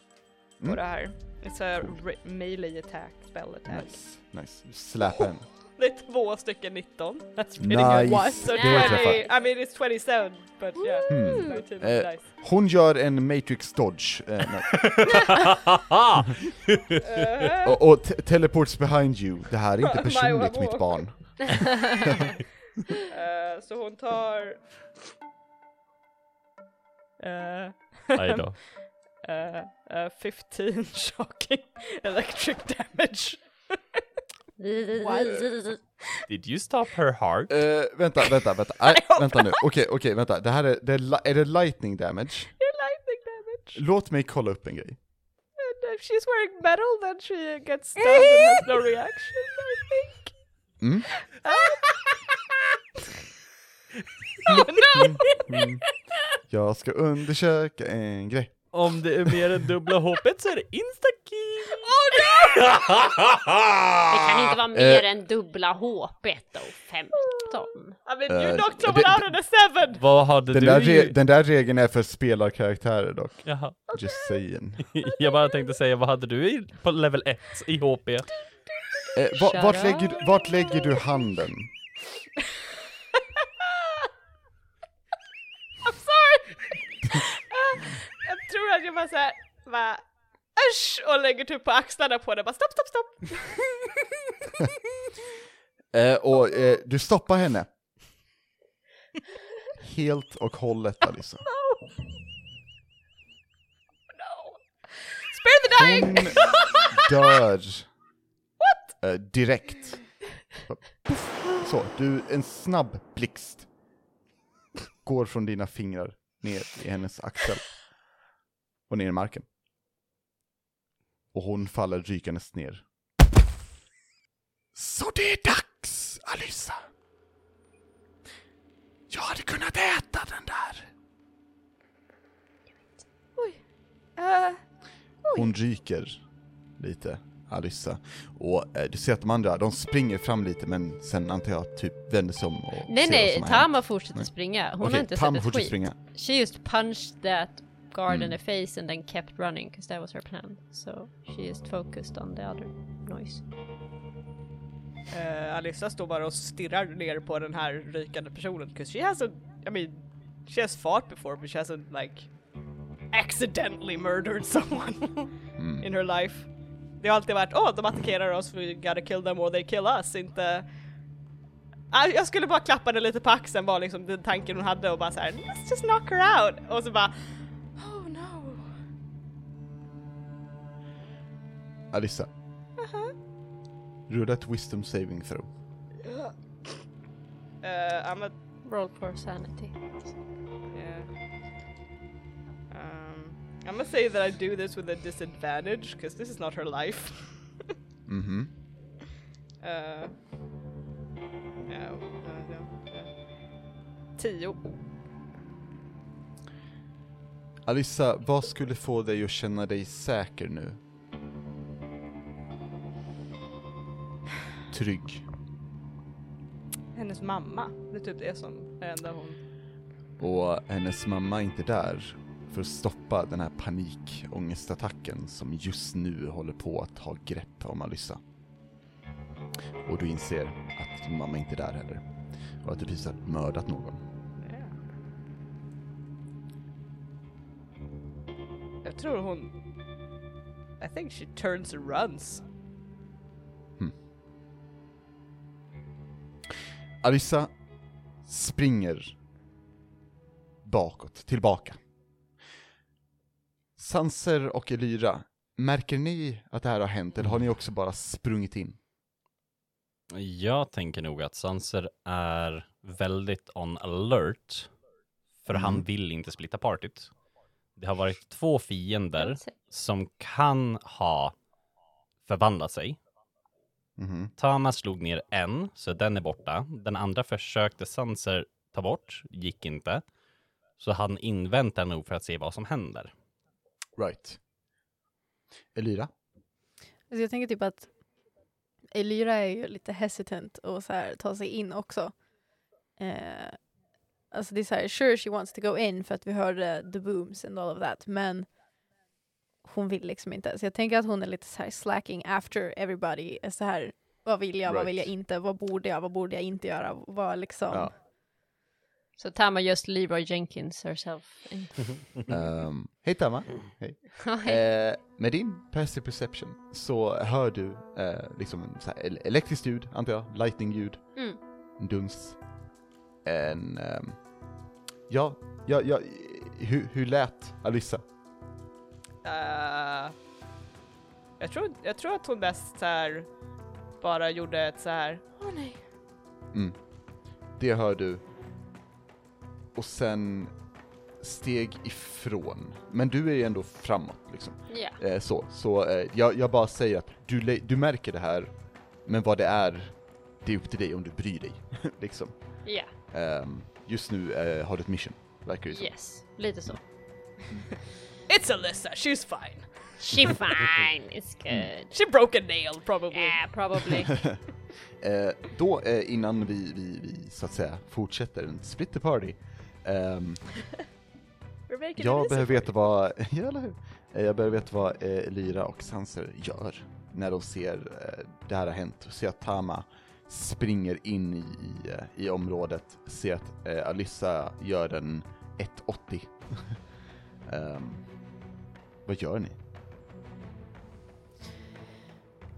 Speaker 4: på
Speaker 2: Mm.
Speaker 4: det här. It's a re- melee attack, spell attack.
Speaker 2: Nice, nice. Släp henne.
Speaker 4: Det är två stycken 19. That's pretty good.
Speaker 2: Nice.
Speaker 4: What? So
Speaker 2: Det
Speaker 4: 20,
Speaker 2: träffar.
Speaker 4: I mean it's 27, but yeah.
Speaker 2: Hmm.
Speaker 4: 19 is
Speaker 2: Eh,
Speaker 4: nice.
Speaker 2: Hon gör en matrix dodge. Eh, nej.
Speaker 4: Eh,
Speaker 2: och och te- teleports behind you. Det här är
Speaker 4: My
Speaker 2: inte personligt
Speaker 4: one
Speaker 2: mitt
Speaker 4: walk.
Speaker 2: barn.
Speaker 4: eh, så hon tar... Eh,
Speaker 1: Aj då.
Speaker 4: eh, eh, 15 shocking electric damage.
Speaker 2: Hmm.
Speaker 1: Did you stop her heart?
Speaker 2: Eh, vänta, vänta, vänta. Nej, vänta nu. Okej, okej, vänta. Det här är, det är, li- är det lightning damage?
Speaker 4: Lightning damage.
Speaker 2: Låt mig kolla upp en grej.
Speaker 4: And if she's wearing metal then she gets stunned and has no reaction, I think.
Speaker 2: Mm.
Speaker 4: oh no!
Speaker 2: Jag ska undersöka en grej.
Speaker 1: Om det är mer än dubbla hoppet så är det instakill!
Speaker 3: Det kan inte
Speaker 2: Eh.
Speaker 3: vara mer än dubbla HP då,
Speaker 4: I
Speaker 3: 15.
Speaker 4: mean you
Speaker 2: Eh,
Speaker 4: knocked
Speaker 2: det-
Speaker 4: someone out on a seven!
Speaker 1: Vad hade
Speaker 2: Den
Speaker 1: du
Speaker 2: där,
Speaker 1: i-
Speaker 2: re- den där regeln är för spelarkaraktärer dock.
Speaker 1: Jaha.
Speaker 2: Just saying.
Speaker 1: Jag bara tänkte säga, vad hade du i, på level 1 i HP?
Speaker 2: Eh, va- vart, lägger, du- vart lägger du handen?
Speaker 4: I'm sorry! Eh, jag tror att jag bara såhär, va? Usch! Och lägger typ på axlarna på det, bara stopp, stopp, stopp!
Speaker 2: Eh, och eh, du stoppar henne. Helt och hållet Alissa.
Speaker 4: Spare the dying!
Speaker 2: Hon dör. Eh, direkt. Puff. Så, du, en snabb blixt. Går från dina fingrar ner i hennes axel. Och ner i marken. Och hon faller rykandes ner. Så det är dags, Alissa. Jag hade kunnat äta den där.
Speaker 3: Äh,
Speaker 2: Hon ryker lite, Alissa. Och eh, du ser att de andra, de springer fram lite men sen antar jag typ vänder sig om och
Speaker 3: Nej
Speaker 2: ser vad
Speaker 3: nej,
Speaker 2: som har hänt.
Speaker 3: Tama fortsätter
Speaker 2: Nej.
Speaker 3: springa. Hon har
Speaker 2: Okej,
Speaker 3: inte
Speaker 2: Tam
Speaker 3: sett ett
Speaker 2: fortsätter
Speaker 3: skit.
Speaker 2: springa. Mm.
Speaker 3: She just punched that guard in the face and then kept running because that was her plan. So she just focused on the other noise.
Speaker 4: Eh, Alissa står bara och stirrar ner på den här rykande personen, 'cause she hasn't, I mean, she has fought before but she hasn't like accidentally murdered someone in her life. Det har alltid varit åh de attackerar oss, we gotta kill them or they kill us, inte... Ah, Jag skulle bara klappa henne lite på axeln var liksom den tanken hon hade och bara såhär let's just knock her out och så bara oh no.
Speaker 2: Alissa. Rulla ett wisdom saving throw.
Speaker 4: Eh, I'm a
Speaker 3: Roll for sanity.
Speaker 4: Yeah. Um, I'm gonna say that I do this with a disadvantage because this is not her life.
Speaker 2: Mhm.
Speaker 4: uh, no, no, no, no. Tio.
Speaker 2: Alissa, vad skulle få dig att känna dig säker nu? Trygg.
Speaker 4: Hennes mamma. Det är typ det som är enda hon...
Speaker 2: Och hennes mamma är inte där för att stoppa den här panikångestattacken som just nu håller på att ta grepp om Alyssa. Och du inser att din mamma inte är där heller. Och att du precis har mördat någon.
Speaker 4: Jag tror hon... I think she turns and runs.
Speaker 2: Alissa springer bakåt, tillbaka. Sanser och Elyra, märker ni att det här har hänt eller har ni också bara sprungit in?
Speaker 1: Jag tänker nog att Sanser är väldigt on alert. För han vill inte splitta partyt. Det har varit två fiender som kan ha förvandlat sig.
Speaker 2: Mhm.
Speaker 1: Tama slog ner en, så den är borta. Den andra försökte Sanser ta bort, gick inte. Så han inväntar nog för att se vad som händer.
Speaker 2: Right. Elyra?
Speaker 5: Alltså jag tänker typ att Elira är ju lite hesitant och så här, ta sig in också. Eh, alltså det är så här, sure she wants to go in för att vi hörde the booms and all of that, men hon vill liksom inte. Så jag tänker att hon är lite så här slacking after everybody. är Så här, vad vill jag, vad vill jag
Speaker 2: Right.
Speaker 5: inte, vad borde jag, vad borde jag inte göra, vad liksom.
Speaker 2: Ja.
Speaker 3: Så Tama just Leroy Jenkins herself.
Speaker 2: Ehm, Hej Tama. Eh, med din passive perception så hör du eh, liksom en så här el- elektriskt ljud, antar jag, lightning-ljud,
Speaker 3: Mm.
Speaker 2: en duns, en... ehm, ja, ja, ja, hur, hur lät Alyssa?
Speaker 4: Eh, jag, tror, jag tror att hon mest så här bara gjorde ett så här. åh nej.
Speaker 2: Det hör du. Och sen steg ifrån. Men du är ju ändå framåt liksom.
Speaker 3: Ja.
Speaker 2: Eh, så, så eh, jag, jag bara säger att du, le- du märker det här, men vad det är, det är upp till dig om du bryr dig. liksom.
Speaker 3: Ja.
Speaker 2: Ehm, just nu eh, har du ett mission, verkar det som.
Speaker 3: Yes. Lite så.
Speaker 4: It's Alyssa, she's fine.
Speaker 3: She fine. It's
Speaker 2: Mm.
Speaker 3: good.
Speaker 4: She broke a nail probably.
Speaker 3: Yeah, probably.
Speaker 2: Eh, då, eh, innan vi, vi, vi så att säga fortsätter en split the party, ehm,
Speaker 4: We're making
Speaker 2: jag
Speaker 4: it easy.
Speaker 2: behöver veta vad, ja, eller hur? Eh, Jag behöver veta vad eh, Lyra och Sanser gör när de ser eh, det här har hänt. Ser att Tama springer in i, i, eh, i området, ser att eh, Alyssa gör en 180. Ehm, vad gör ni?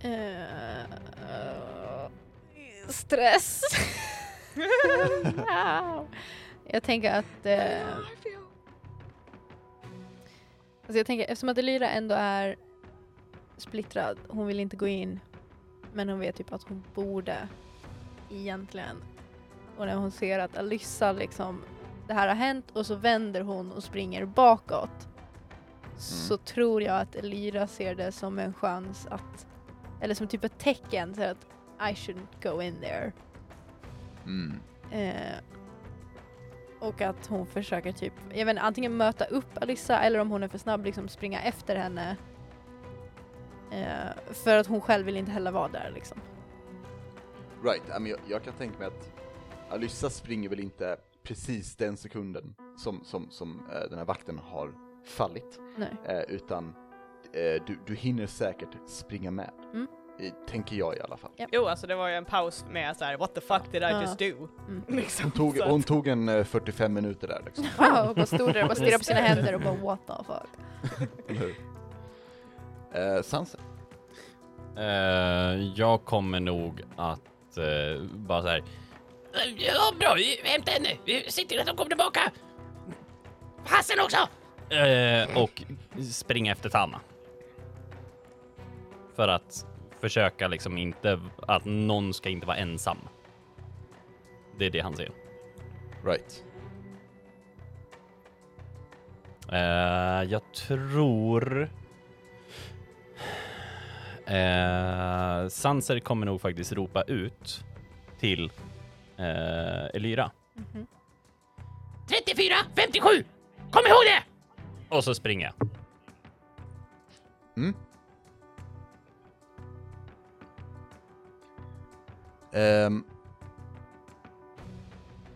Speaker 5: Eh, eh, stress. Wow. Jag tänker att... eh, alltså jag tänker, eftersom att Elira ändå är splittrad, hon vill inte gå in, men hon vet typ att hon borde egentligen. Och när hon ser att Alyssa liksom, det här har hänt och så vänder hon och springer bakåt. Så tror jag att Elira ser det som en chans att, eller som typ ett tecken till att I shouldn't go in there.
Speaker 2: Mm.
Speaker 5: Eh, och att hon försöker typ, jag vet inte, antingen möta upp Alyssa eller om hon är för snabb liksom springa efter henne. Eh, för att hon själv vill inte heller vara där liksom.
Speaker 2: Right, ja, men jag, jag kan tänka mig att Alyssa springer väl inte precis den sekunden som, som, som eh, den här vakten har fallit,
Speaker 5: Nej.
Speaker 2: eh, utan eh, du, du hinner säkert springa med.
Speaker 5: Mm.
Speaker 2: Eh, Tänker jag i alla fall.
Speaker 4: Jo, alltså det var ju en paus med så här. what the fuck did I
Speaker 5: Ja.
Speaker 4: just do?
Speaker 5: Mm.
Speaker 4: Liksom,
Speaker 2: Hon tog,
Speaker 4: så att-
Speaker 2: hon tog en eh, 45 minuter där liksom.
Speaker 5: Wow, och bara stod där och bara stirrade på sina händer och bara what the fuck.
Speaker 2: Eller hur? Eh, Sansa?
Speaker 1: Eh, jag kommer nog att eh, bara så här.
Speaker 6: Eh, Ja, bra. Hämta henne. Se till att hon kommer tillbaka. Hassen också.
Speaker 1: eh, och springa efter Tama. För att försöka liksom inte att någon ska inte vara ensam. Det är det han säger.
Speaker 2: Right.
Speaker 1: Eh, jag tror... Eh, Sanser kommer nog faktiskt ropa ut till eh, Elira.
Speaker 6: 34, 57. Kom ihåg det!
Speaker 1: Och så springer jag.
Speaker 2: Mm. Ehm.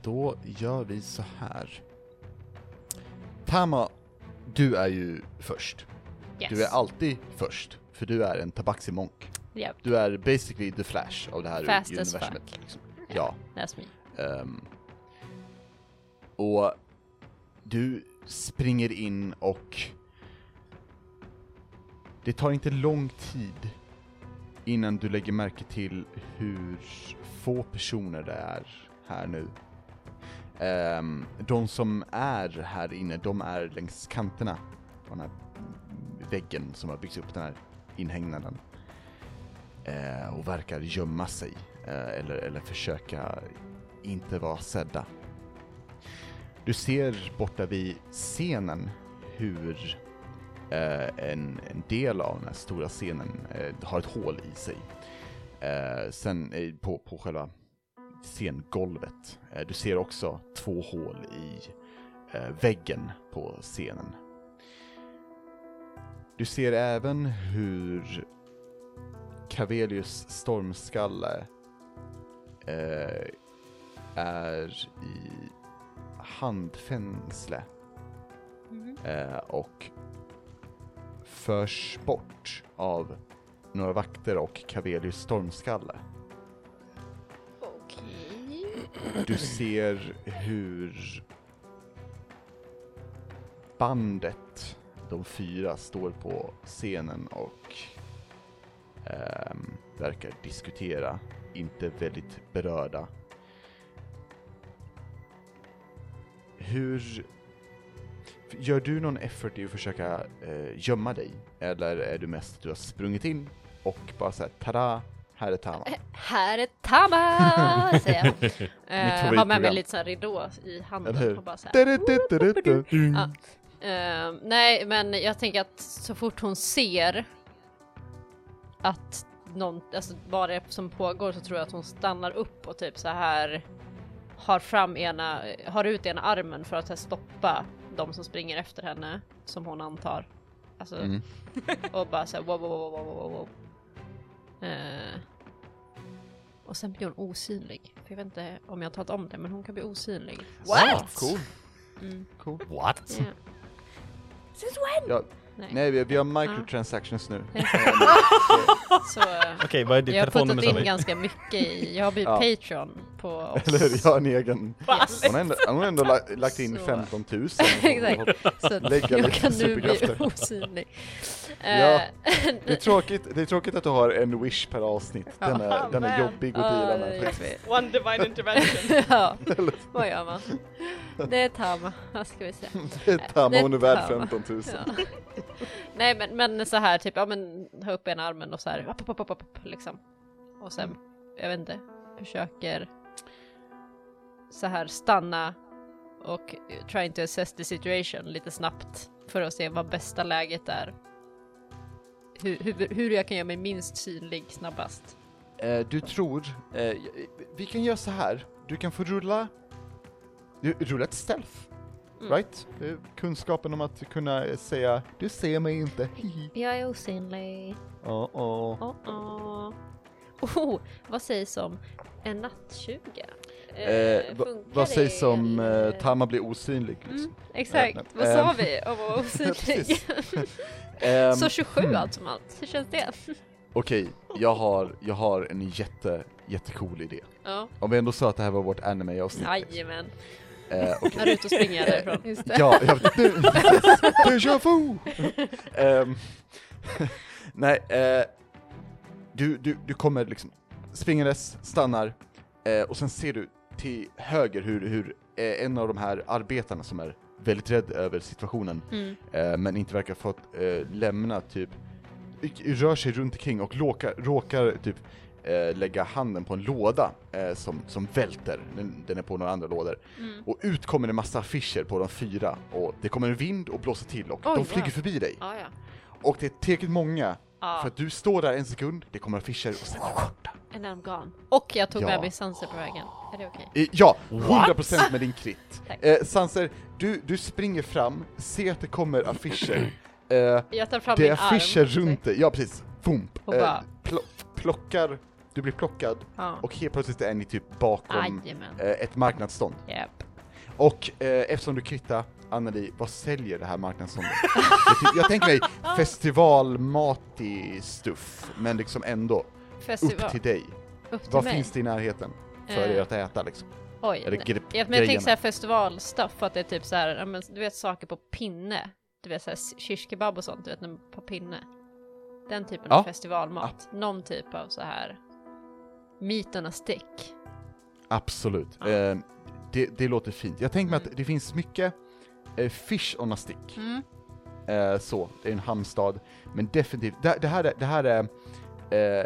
Speaker 2: då gör vi så här. Tama, du är ju först.
Speaker 3: Yes.
Speaker 2: Du är alltid först, för du är en tabaximonk.
Speaker 3: Yep,
Speaker 2: Du är basically the flash av det här
Speaker 3: Fast as
Speaker 2: universumet.
Speaker 3: fuck.
Speaker 2: Liksom. Ja.
Speaker 3: that's me.
Speaker 2: Ehm, och du springer in och det tar inte lång tid innan du lägger märke till hur få personer det är här nu. Ehm, de som är här inne, de är längs kanterna av den här väggen som har byggts upp, den här inhägnaden. Eh, och verkar gömma sig, eh, eller, eller försöka inte vara sedda. Du ser borta vid scenen hur eh, en, en del av den här stora scenen eh, har ett hål i sig. Eh, sen eh, på, på själva scengolvet. Eh, du ser också två hål i eh, väggen på scenen. Du ser även hur Cavelius stormskalle eh, är i handfängsle eh, och förs bort av några vakter och Cavelius stormskalle.
Speaker 3: Okej.
Speaker 2: Du ser hur bandet, de fyra, står på scenen och ehm, verkar diskutera, inte väldigt berörda. Hur... Gör du någon effort i att försöka eh, gömma dig? Eller är du mest att du har sprungit in och bara såhär, tada, här är Tama.
Speaker 3: Här är Tama! säger jag. Eh, har med mig
Speaker 2: favoritprogram.
Speaker 3: lite sån här ridå i
Speaker 2: Eller hur?
Speaker 3: handen och bara så här.
Speaker 2: Du-du-du-du-du.
Speaker 3: Eh, nej, men jag tänker att så fort hon ser att någon, alltså vad det är som pågår så tror jag att hon stannar upp och typ så här har fram ena, har ut ena armen för att så här stoppa de som springer efter henne som hon antar. Alltså,
Speaker 2: Mm.
Speaker 3: och bara så här wow, wow, wow, wow, wow, wow. Eh, och sen blir hon osynlig. För jag vet inte om jag har talat om det, men hon kan bli osynlig.
Speaker 1: What?
Speaker 2: Cool.
Speaker 3: Mm.
Speaker 2: cool.
Speaker 1: What?
Speaker 3: Ja.
Speaker 2: Ja,
Speaker 3: Nej.
Speaker 2: nej, vi, vi har microtransactions nu.
Speaker 3: Så, eh,
Speaker 1: Okej, vad är ditt
Speaker 3: jag har puttat
Speaker 1: telefonnummer
Speaker 3: in
Speaker 1: Sally?
Speaker 3: ganska mycket i, jag har blivit
Speaker 2: Ja.
Speaker 3: Patreon på oss.
Speaker 2: Eller hur? Jag har en egen.
Speaker 3: Yes.
Speaker 2: Hon har ändå, hon har ändå la, lagt in
Speaker 3: Så.
Speaker 2: 15 000.
Speaker 3: Exakt. Så att
Speaker 2: Lägga
Speaker 3: jag
Speaker 2: lite
Speaker 3: kan nu bli
Speaker 2: superkrafter.
Speaker 3: osynlig.
Speaker 2: Ja.
Speaker 3: Eh,
Speaker 2: Det är, tråkigt, det är tråkigt att du har en wish per avsnitt. Den är, den är
Speaker 4: man.
Speaker 2: jobbig att deala
Speaker 3: det är
Speaker 2: med.
Speaker 3: jobbigt.
Speaker 4: One divine intervention.
Speaker 3: ja, vad gör man? Det är Tama, vad ska vi säga?
Speaker 2: Det är Tamma, hon är värd
Speaker 3: Tamma.
Speaker 2: 15 000.
Speaker 3: Ja. Nej men, men så här typ, ja men ha upp ena armen och så här, upp, upp, upp, upp, upp, liksom. Och sen, jag vet inte, försöker så här stanna och trying to assess the situation lite snabbt för att se vad bästa läget är. Hur, hur, hur jag kan göra mig minst synlig snabbast.
Speaker 2: Eh, du tror... Eh, vi kan göra så här. Du kan få rulla... Du, rulla ett stealth.
Speaker 3: Mm.
Speaker 2: Right? Det är Kunskapen om att kunna säga du ser mig inte. Hihi.
Speaker 3: Jag är osynlig.
Speaker 2: Ja, ja.
Speaker 3: Oh, oh. Oh, vad sägs om en nattjuga? Eh,
Speaker 2: Eh, va-
Speaker 3: funkar
Speaker 2: vad
Speaker 3: det
Speaker 2: sägs om
Speaker 3: eller-
Speaker 2: eh, Tama blir osynlig? Liksom?
Speaker 3: Mm, exakt,
Speaker 2: Nej,
Speaker 3: vad
Speaker 2: nej.
Speaker 3: sa
Speaker 2: Ehm.
Speaker 3: vi om att vara osynlig?
Speaker 2: Precis. Ehm,
Speaker 3: Så alltså, 27 allt som allt, hur känns det?
Speaker 2: Okej, jag, har, jag har en jätte, jättecool idé.
Speaker 3: Ja,
Speaker 2: Om vi ändå sa att det här var vårt anime-avsnitt.
Speaker 3: jajamän.
Speaker 2: Eh, okej.
Speaker 3: När du är ute och springer därifrån.
Speaker 5: Just det.
Speaker 2: Ja, jag, du, precis. Deja vu! Ehm, nej, eh, du, du, du kommer liksom springandes, stannar eh, och sen ser du till höger hur, hur eh, en av de här arbetarna som är väldigt rädd över situationen
Speaker 3: Mm.
Speaker 2: eh, men inte verkar ha fått eh, lämna typ i- rör sig runt omkring och råkar, råkar typ eh, lägga handen på en låda eh, som, som välter. Den, den är på några andra lådor.
Speaker 3: Mm.
Speaker 2: Och ut kommer en massa affischer på de fyra och det kommer en vind och blåser till och
Speaker 3: Oj,
Speaker 2: de flyger
Speaker 3: wow.
Speaker 2: förbi dig.
Speaker 3: Ah, ja.
Speaker 2: Och det är tillräckligt många
Speaker 3: Ah,
Speaker 2: för att du står där en sekund, det kommer affischer och sen är de borta.
Speaker 3: and I'm gone. Och jag tog
Speaker 2: Ja.
Speaker 3: med mig Sanser på vägen. Är det okej?
Speaker 2: Eh, Ja, 100% med din krit.
Speaker 3: Tack.
Speaker 2: Eh, Sanser, du, du springer fram, ser att det kommer affischer. Eh,
Speaker 3: Jag tar fram
Speaker 2: det
Speaker 3: min
Speaker 2: är affischer
Speaker 3: arm.
Speaker 2: runt dig, ja precis. Vump.
Speaker 3: Och bara-
Speaker 2: plo- plockar, du blir plockad
Speaker 3: Ja.
Speaker 2: och helt plötsligt är ni typ bakom
Speaker 3: Jajamän.
Speaker 2: eh, ett marknadsstånd.
Speaker 3: Japp.
Speaker 2: Och eh, eftersom du kritar, Anneli, vad säljer det här marknadsståndet? jag, ty- jag tänker mig festivalmatig stuff, men liksom ändå.
Speaker 3: Festival.
Speaker 2: Upp till dig.
Speaker 3: Upp till
Speaker 2: Vad
Speaker 3: mig.
Speaker 2: finns det i närheten för
Speaker 3: Eh.
Speaker 2: er att äta liksom?
Speaker 3: Oj.
Speaker 2: Eller
Speaker 3: nej.
Speaker 2: gre-
Speaker 3: Ja, men jag tänker
Speaker 2: grejerna?
Speaker 3: såhär festivalstuff, för att det är typ såhär, ja, men du vet saker på pinne. Du vet såhär kirskebab och sånt, du vet när- på pinne. Den typen
Speaker 2: Ja.
Speaker 3: av festivalmat. Någon typ av så här meat on a stick.
Speaker 2: Absolut. Eh, det, det låter fint. Jag tänker mig
Speaker 3: Mm.
Speaker 2: att det finns mycket eh, fish on a stick. Eh, så, det är en hamnstad. Men definitivt, det, det här är, det här är eh,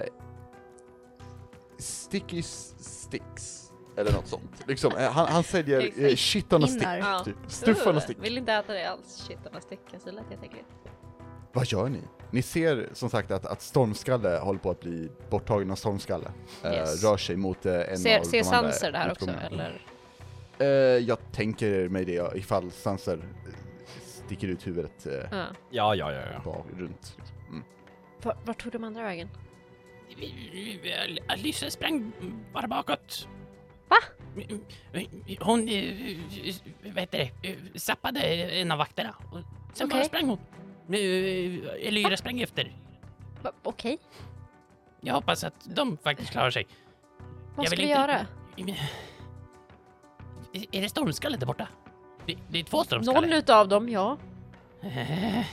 Speaker 2: sticky s- sticks. Eller något sånt. Liksom, eh, han, han säljer eh,
Speaker 5: Exakt.
Speaker 2: shit on a
Speaker 5: Pinnar.
Speaker 2: stick.
Speaker 3: Ja.
Speaker 2: Typ. Stuff on a
Speaker 3: Uh,
Speaker 2: stick.
Speaker 3: Vill inte äta det alls, shit on a stick. Alltså, det lät jätteäckligt.
Speaker 2: Vad gör ni? Ni ser som sagt att, att Stormskalle håller på att bli borttagen av Stormskalle. Eh,
Speaker 3: Yes.
Speaker 2: Rör sig mot eh, en
Speaker 3: Ser,
Speaker 2: av
Speaker 3: ser
Speaker 2: de andra
Speaker 3: Sanser det här också
Speaker 2: utgångarna.
Speaker 3: eller?
Speaker 2: Eh, jag tänker mig det ifall Sanser eh, sticker ut huvudet eh,
Speaker 3: Ja.
Speaker 1: Ja, ja, ja, ja.
Speaker 2: bak, runt. Mm.
Speaker 3: Vart var tog de andra vägen?
Speaker 6: Alicia sprang bara bakåt.
Speaker 3: Va?
Speaker 6: Hon, eh, vad heter det, eh, zappade en av vakterna. Och Sen bara
Speaker 3: Okej.
Speaker 6: sprang hon. Eh, Elyra sprang efter.
Speaker 3: Va- Okej,
Speaker 6: Jag hoppas att de faktiskt klarar sig.
Speaker 3: vad
Speaker 6: Jag
Speaker 3: ska
Speaker 6: vill
Speaker 3: vi
Speaker 6: inte-
Speaker 3: göra?
Speaker 6: Är- Är det stormskalle där borta? Det, det är två
Speaker 3: Någon
Speaker 6: stormskalle.
Speaker 3: utav dem, ja.
Speaker 6: Eh.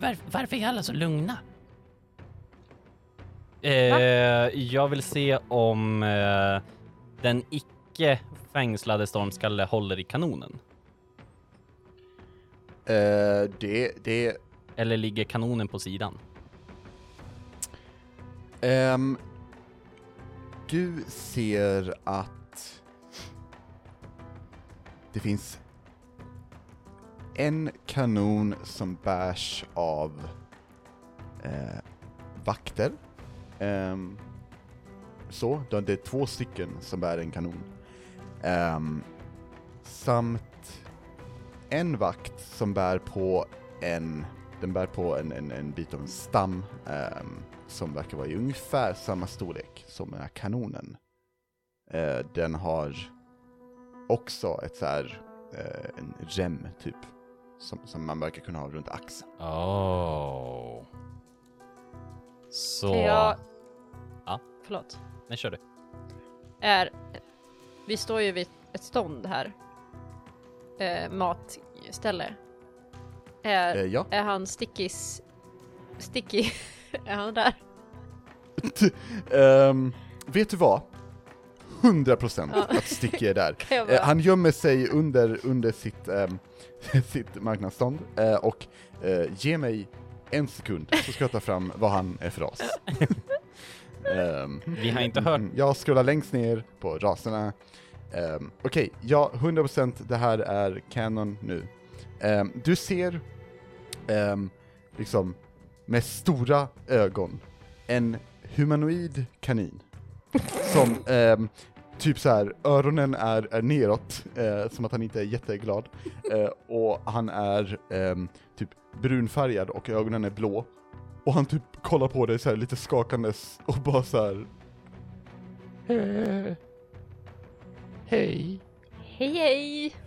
Speaker 6: Var, varför är alla så lugna?
Speaker 1: Eh, jag vill se om eh, den icke fängslade stormskalle håller i kanonen.
Speaker 2: Eh, det, det,
Speaker 1: Eller ligger kanonen på sidan?
Speaker 2: Ehm, du ser att det finns en kanon som bärs av eh, vakter. Ehm, så, då det är två stycken som bär en kanon. Ehm, samt en vakt som bär på en, den bär på en, en, en bit av en stam ehm, som verkar vara i ungefär samma storlek som den här kanonen. Eh, den har också ett så här, eh, en rem typ, som, som man verkar kunna ha runt axeln.
Speaker 1: Oh. Så...
Speaker 3: Kan jag...
Speaker 1: Ja.
Speaker 3: Förlåt.
Speaker 1: Nej, kör du.
Speaker 3: Är... Vi står ju vid ett stånd här. Eh, matställe. Är,
Speaker 2: Eh, ja.
Speaker 3: är han stickis... Sticky? är han där?
Speaker 2: Ehm, vet du vad? 100% procent att Sticky är där.
Speaker 3: Kan jag
Speaker 2: Eh,
Speaker 3: bara...
Speaker 2: han gömmer sig under, under sitt, ehm, sitt marknadsstånd eh, och eh, ge mig en sekund så ska jag ta fram vad han är för ras. Ehm,
Speaker 1: Vi har inte hört...
Speaker 2: mm, Jag scrollar längst ner på raserna. Ehm, Okej, ja, 100% det här är canon nu. Ehm, du ser, ehm, liksom, med stora ögon, en humanoid kanin. som, ehm, typ så här, öronen är, är neråt, eh, som att han inte är jätteglad. Eh, och han är ehm, typ brunfärgad och ögonen är blå. Och han typ kollar på dig så här lite skakandes och bara så här
Speaker 6: Hej.
Speaker 3: Hej hej!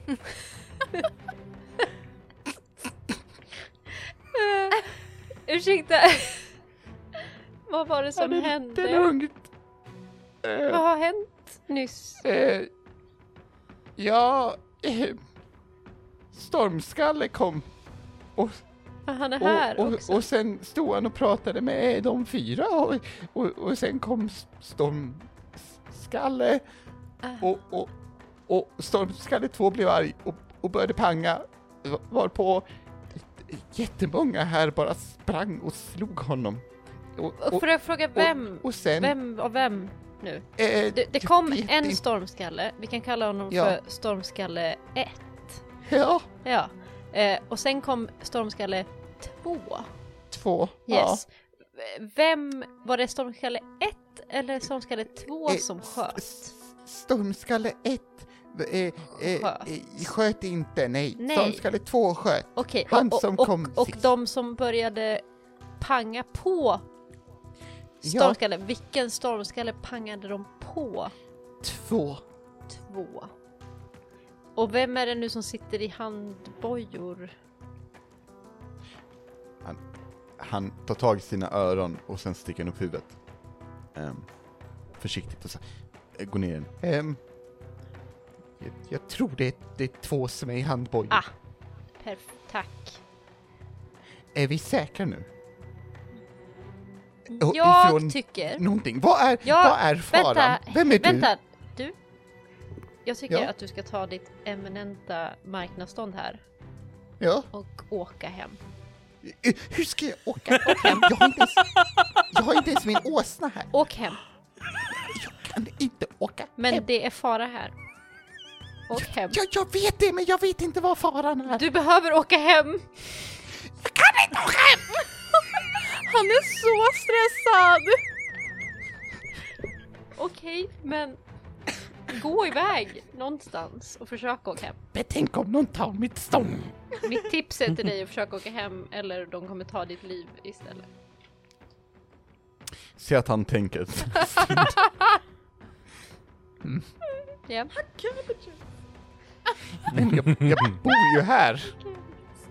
Speaker 3: Eh, ursäkta! Vad var det som hände?
Speaker 2: lugnt.
Speaker 3: Vad har hänt nyss?
Speaker 2: Eh, ja, eh, Stormskalle kom och,
Speaker 3: Han är här
Speaker 2: och, och,
Speaker 3: också.
Speaker 2: och sen stod han och pratade med de fyra och, och, och sen kom S- Stormskalle
Speaker 3: Ah.
Speaker 2: och, och, och Stormskalle 2 blev arg och, och började panga varpå jättemånga här bara sprang och slog honom. Och,
Speaker 3: och får jag fråga vem?
Speaker 2: och, och sen,
Speaker 3: Vem av vem nu?
Speaker 2: eh,
Speaker 3: Det, det
Speaker 2: du
Speaker 3: kom
Speaker 2: vet
Speaker 3: en
Speaker 2: inte.
Speaker 3: stormskalle, vi kan kalla honom
Speaker 2: Ja.
Speaker 3: för stormskalle 1.
Speaker 2: Ja,
Speaker 3: Ja. Eh, och sen kom stormskalle 2.
Speaker 2: två. Ja.
Speaker 3: Yes. Vem, var det stormskalle 1 eller stormskalle 2
Speaker 2: Eh,
Speaker 3: som
Speaker 2: s-
Speaker 3: sköt?
Speaker 2: s- Stormskalle 1 eh, eh,
Speaker 3: Sköt.
Speaker 2: eh, sköt inte, nej.
Speaker 3: Nej.
Speaker 2: Stormskalle 2 sköt.
Speaker 3: Okej,
Speaker 2: Han
Speaker 3: och, och,
Speaker 2: som
Speaker 3: och,
Speaker 2: kom
Speaker 3: och
Speaker 2: sist.
Speaker 3: de som började panga på
Speaker 2: Ja.
Speaker 3: stormskalle, vilken stormskalle pangade de på?
Speaker 2: Två.
Speaker 3: Två. Och vem är det nu som sitter i handbojor?
Speaker 2: Han tar tag i sina öron och sen sticker han upp huvudet. Ehm, försiktigt och så eh, går ner igen. Ehm, jag, jag tror det är, det är två som är i handbojor.
Speaker 3: Ah. Perf tack.
Speaker 2: Är vi säkra nu? Och
Speaker 3: Mm. Jag
Speaker 2: ifrån
Speaker 3: tycker...
Speaker 2: Någonting. Vad är,
Speaker 3: Ja,
Speaker 2: vad är faran?
Speaker 3: Vänta,
Speaker 2: Vem är du?
Speaker 3: vänta. Du? Jag tycker
Speaker 2: Ja.
Speaker 3: att du ska ta ditt eminenta marknadsstånd här
Speaker 2: Ja.
Speaker 3: och åka hem.
Speaker 2: Eh, Hur ska jag åka? åka hem? Jag har inte ens, jag har inte ens min åsna här.
Speaker 3: Åk hem.
Speaker 2: Jag kan inte åka
Speaker 3: Men
Speaker 2: hem.
Speaker 3: det är fara här. Åk hem.
Speaker 2: Ja, jag vet det, men jag vet inte vad faran är.
Speaker 3: Du behöver åka hem!
Speaker 2: Jag kan inte åka hem!
Speaker 5: Han är så stressad!
Speaker 3: Okej, men Gå iväg någonstans och försök åka hem.
Speaker 6: Betänk om någon tar mitt
Speaker 2: Mm.
Speaker 6: stång!
Speaker 3: Mitt tips är till dig att försöka åka hem eller de kommer ta ditt liv istället.
Speaker 2: Se att han tänker.
Speaker 3: Ja.
Speaker 2: Ah, Men jag, jag bor ju här.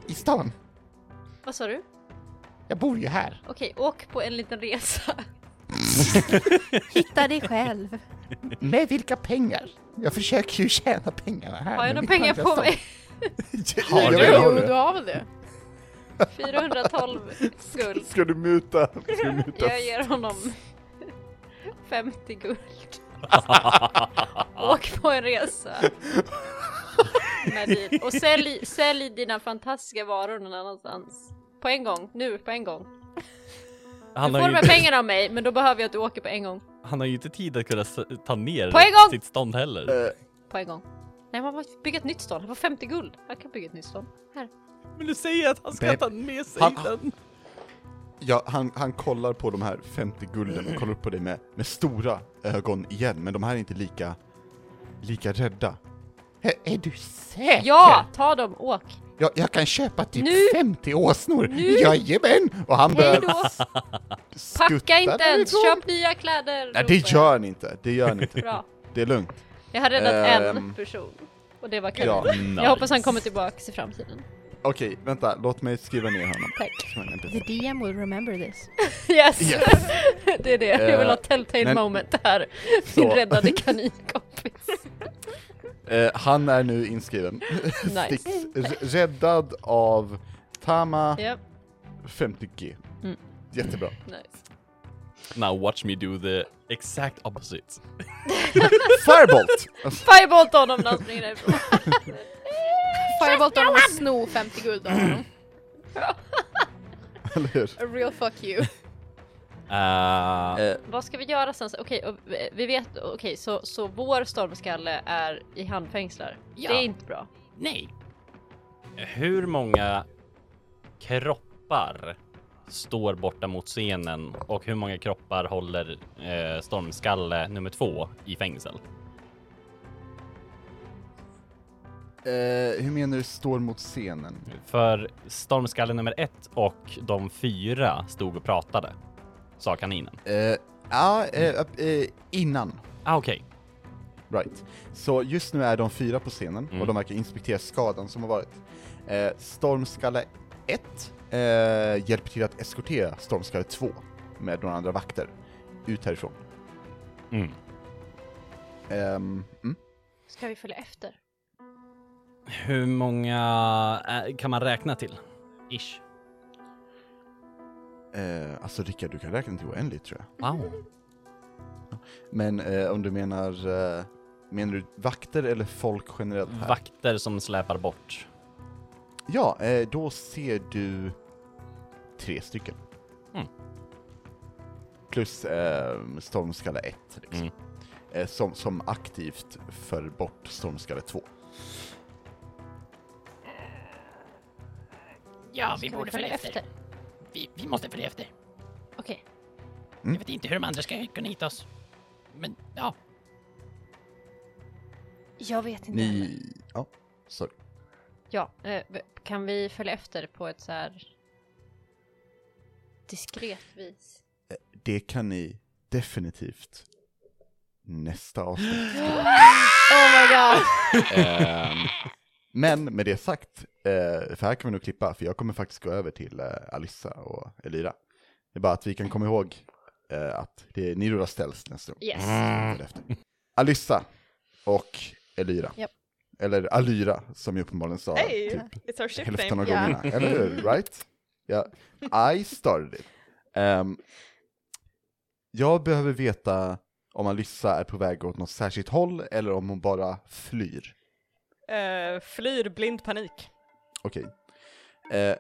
Speaker 2: I stan.
Speaker 3: Vad sa du?
Speaker 2: Jag bor ju här.
Speaker 3: Okej, åk på en liten resa.
Speaker 5: Hitta dig själv.
Speaker 2: Med vilka pengar? Jag försöker ju tjäna pengarna här.
Speaker 3: Har
Speaker 2: med
Speaker 3: jag några
Speaker 2: mitt
Speaker 3: pengar
Speaker 2: andra
Speaker 3: på
Speaker 2: stång.
Speaker 3: mig?
Speaker 1: Har
Speaker 2: jag
Speaker 1: du?
Speaker 2: vet,
Speaker 5: Jo,
Speaker 2: har
Speaker 5: du har väl det?
Speaker 3: 412
Speaker 2: du?
Speaker 3: guld.
Speaker 2: Ska du muta? Ska du muta?
Speaker 3: Jag ger honom 50 guld. Åk på en resa. Med bil. Och sälj, sälj dina fantastiska varor någon annanstans. På en gång, nu på en gång. Du får
Speaker 1: Han
Speaker 3: de
Speaker 1: har, ju,
Speaker 3: här pengarna av mig, men då behöver jag att du åker på en gång.
Speaker 1: han har ju inte tid att kunna s- ta ner
Speaker 3: På en gång!
Speaker 1: sitt stånd heller.
Speaker 2: Eh,
Speaker 3: På en gång. Nej, man måste bygga ett nytt stånd. Han får 50 guld. Han kan bygga ett nytt stånd. Här.
Speaker 1: Men du säger att han ska
Speaker 2: Babe,
Speaker 1: ta med sig
Speaker 2: han-
Speaker 1: den.
Speaker 2: Ja, han, han kollar på de här 50 gulden och kollar upp på dig med, med stora ögon igen, men de här är inte lika, lika rädda. Är, du säker?
Speaker 3: Ja, ta dem, åk.
Speaker 2: Jag, jag kan köpa typ
Speaker 3: Nu!
Speaker 2: 50 åsnor!
Speaker 3: Nu!
Speaker 2: Jajamän! Och han
Speaker 3: Hej
Speaker 2: börjar
Speaker 3: då!
Speaker 2: skutta
Speaker 3: Packa inte ens,
Speaker 2: därifrån.
Speaker 3: köp nya kläder!
Speaker 2: Nej, det
Speaker 3: ropar
Speaker 2: gör han inte. Det gör han
Speaker 3: jag.
Speaker 2: inte.
Speaker 3: Bra.
Speaker 2: Det är lugnt.
Speaker 3: Jag har räddat en
Speaker 2: Ehm.
Speaker 3: person. Och det var Kalle.
Speaker 2: Ja.
Speaker 3: Jag hoppas han kommer typ- tillbaka i framtiden.
Speaker 2: Okej, vänta. Låt mig skriva ner honom.
Speaker 3: Tack.
Speaker 2: Som en
Speaker 5: The
Speaker 2: NPC.
Speaker 5: DM will remember this.
Speaker 3: Yes!
Speaker 2: Yes.
Speaker 3: det är det. Jag vill ha
Speaker 2: Eh,
Speaker 3: telltale
Speaker 2: men-
Speaker 3: moment här. Min
Speaker 2: Så.
Speaker 3: räddade kaninkompis.
Speaker 2: Eh, han är nu inskriven.
Speaker 3: Nice.
Speaker 2: Sticks. R- Räddad av Tama
Speaker 3: Ja,
Speaker 2: 50G.
Speaker 3: Mm.
Speaker 2: Jättebra.
Speaker 3: nice.
Speaker 1: Now watch me do the exact opposite.
Speaker 2: Firebolt!
Speaker 3: Firebolt honom när han springer därifrån.
Speaker 5: Firebolt honom och sno 50 guld av honom.
Speaker 2: Eller hur?
Speaker 5: A real fuck you.
Speaker 1: Eh,
Speaker 3: Vad ska vi göra sen? Okej, och, eh, vi vet, okej, så, så vår stormskalle är i handfängslar.
Speaker 6: Ja.
Speaker 3: Det är inte bra.
Speaker 6: Nej,
Speaker 1: hur många kroppar står borta mot scenen och hur många kroppar håller eh, stormskalle nummer två i fängsel?
Speaker 2: Eh, hur menar du står mot scenen?
Speaker 1: För stormskalle nummer ett och de fyra stod och pratade, sa kaninen.
Speaker 2: Eh, Ja, eh, eh, innan.
Speaker 1: Ah, Okej,
Speaker 2: Right. Så just nu är de fyra på scenen och de verkar inspektera skadan som har varit. Eh, Stormskalle 1 eh, hjälper till att eskortera Stormskalle 2 med några andra vakter ut härifrån.
Speaker 1: Mm.
Speaker 2: Ehm, mm.
Speaker 3: Ska vi följa efter?
Speaker 1: hur många eh, kan man räkna till? Ish.
Speaker 2: Eh, alltså Rickard, du kan räkna till oändligt tror jag.
Speaker 1: Wow.
Speaker 2: Men eh, om du menar, eh, menar du vakter eller folk generellt här?
Speaker 1: Vakter som släpar bort.
Speaker 2: Ja, eh, då ser du tre stycken.
Speaker 1: Mm.
Speaker 2: Plus eh, Stormskalle 1, liksom.
Speaker 1: Mm.
Speaker 2: eh, som, som aktivt för bort Stormskalle 2.
Speaker 6: ja vi
Speaker 3: Ska
Speaker 6: borde följa efter. Vi, vi måste följa efter.
Speaker 3: Okej,
Speaker 6: Jag vet inte hur de andra ska kunna hitta oss. Men ja,
Speaker 3: jag vet inte heller.
Speaker 2: Ni... Ja, sorry.
Speaker 3: Ja, eh, v- kan vi följa efter på ett så här diskret vis?
Speaker 2: Det kan ni definitivt nästa avsnitt.
Speaker 5: Oh my god.
Speaker 2: Ehm, men med det sagt, eh, för här kan vi nog klippa, för jag kommer faktiskt gå över till eh, Alissa och Elira. Det är bara att vi kan komma ihåg eh, att det är, ni rullar ställs nästa gång.
Speaker 3: Yes.
Speaker 2: Följ efter. Alyssa och Elira.
Speaker 5: Japp.
Speaker 2: Eller Alyra, som jag uppenbarligen sa
Speaker 4: Hey,
Speaker 2: typ
Speaker 4: it's our ship
Speaker 2: hälften
Speaker 4: name.
Speaker 2: av
Speaker 5: Ja.
Speaker 2: gångerna. Eller hur? Right? Ja. I started it. Ehm, jag behöver veta om Alyssa är på väg åt något särskilt håll eller om hon bara flyr.
Speaker 4: Eh, flyr blind panik.
Speaker 2: Okej. Eh,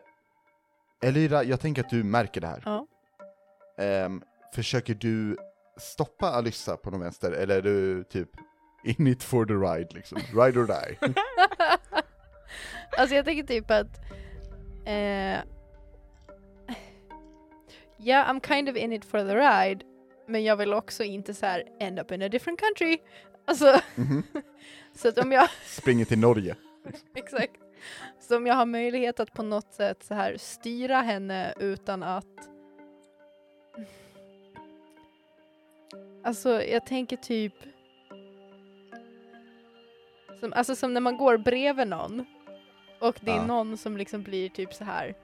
Speaker 2: Elira, jag tänker att du märker det här.
Speaker 5: Ja.
Speaker 2: Ehm, försöker du stoppa Alyssa på någon vänster, eller är du typ in it for the ride liksom? Ride or die.
Speaker 5: Alltså jag tänker typ att... Eh, yeah, I'm kind of in it for the ride. Men jag vill också inte så här end up in a different country. Alltså,
Speaker 2: Mhm.
Speaker 5: så att om jag,
Speaker 2: Springer till Norge.
Speaker 5: exakt. Så om jag har möjlighet att på något sätt så här styra henne utan att... Alltså jag tänker typ... Som, alltså som när man går bredvid någon och det är
Speaker 2: Ja.
Speaker 5: någon som liksom blir typ så här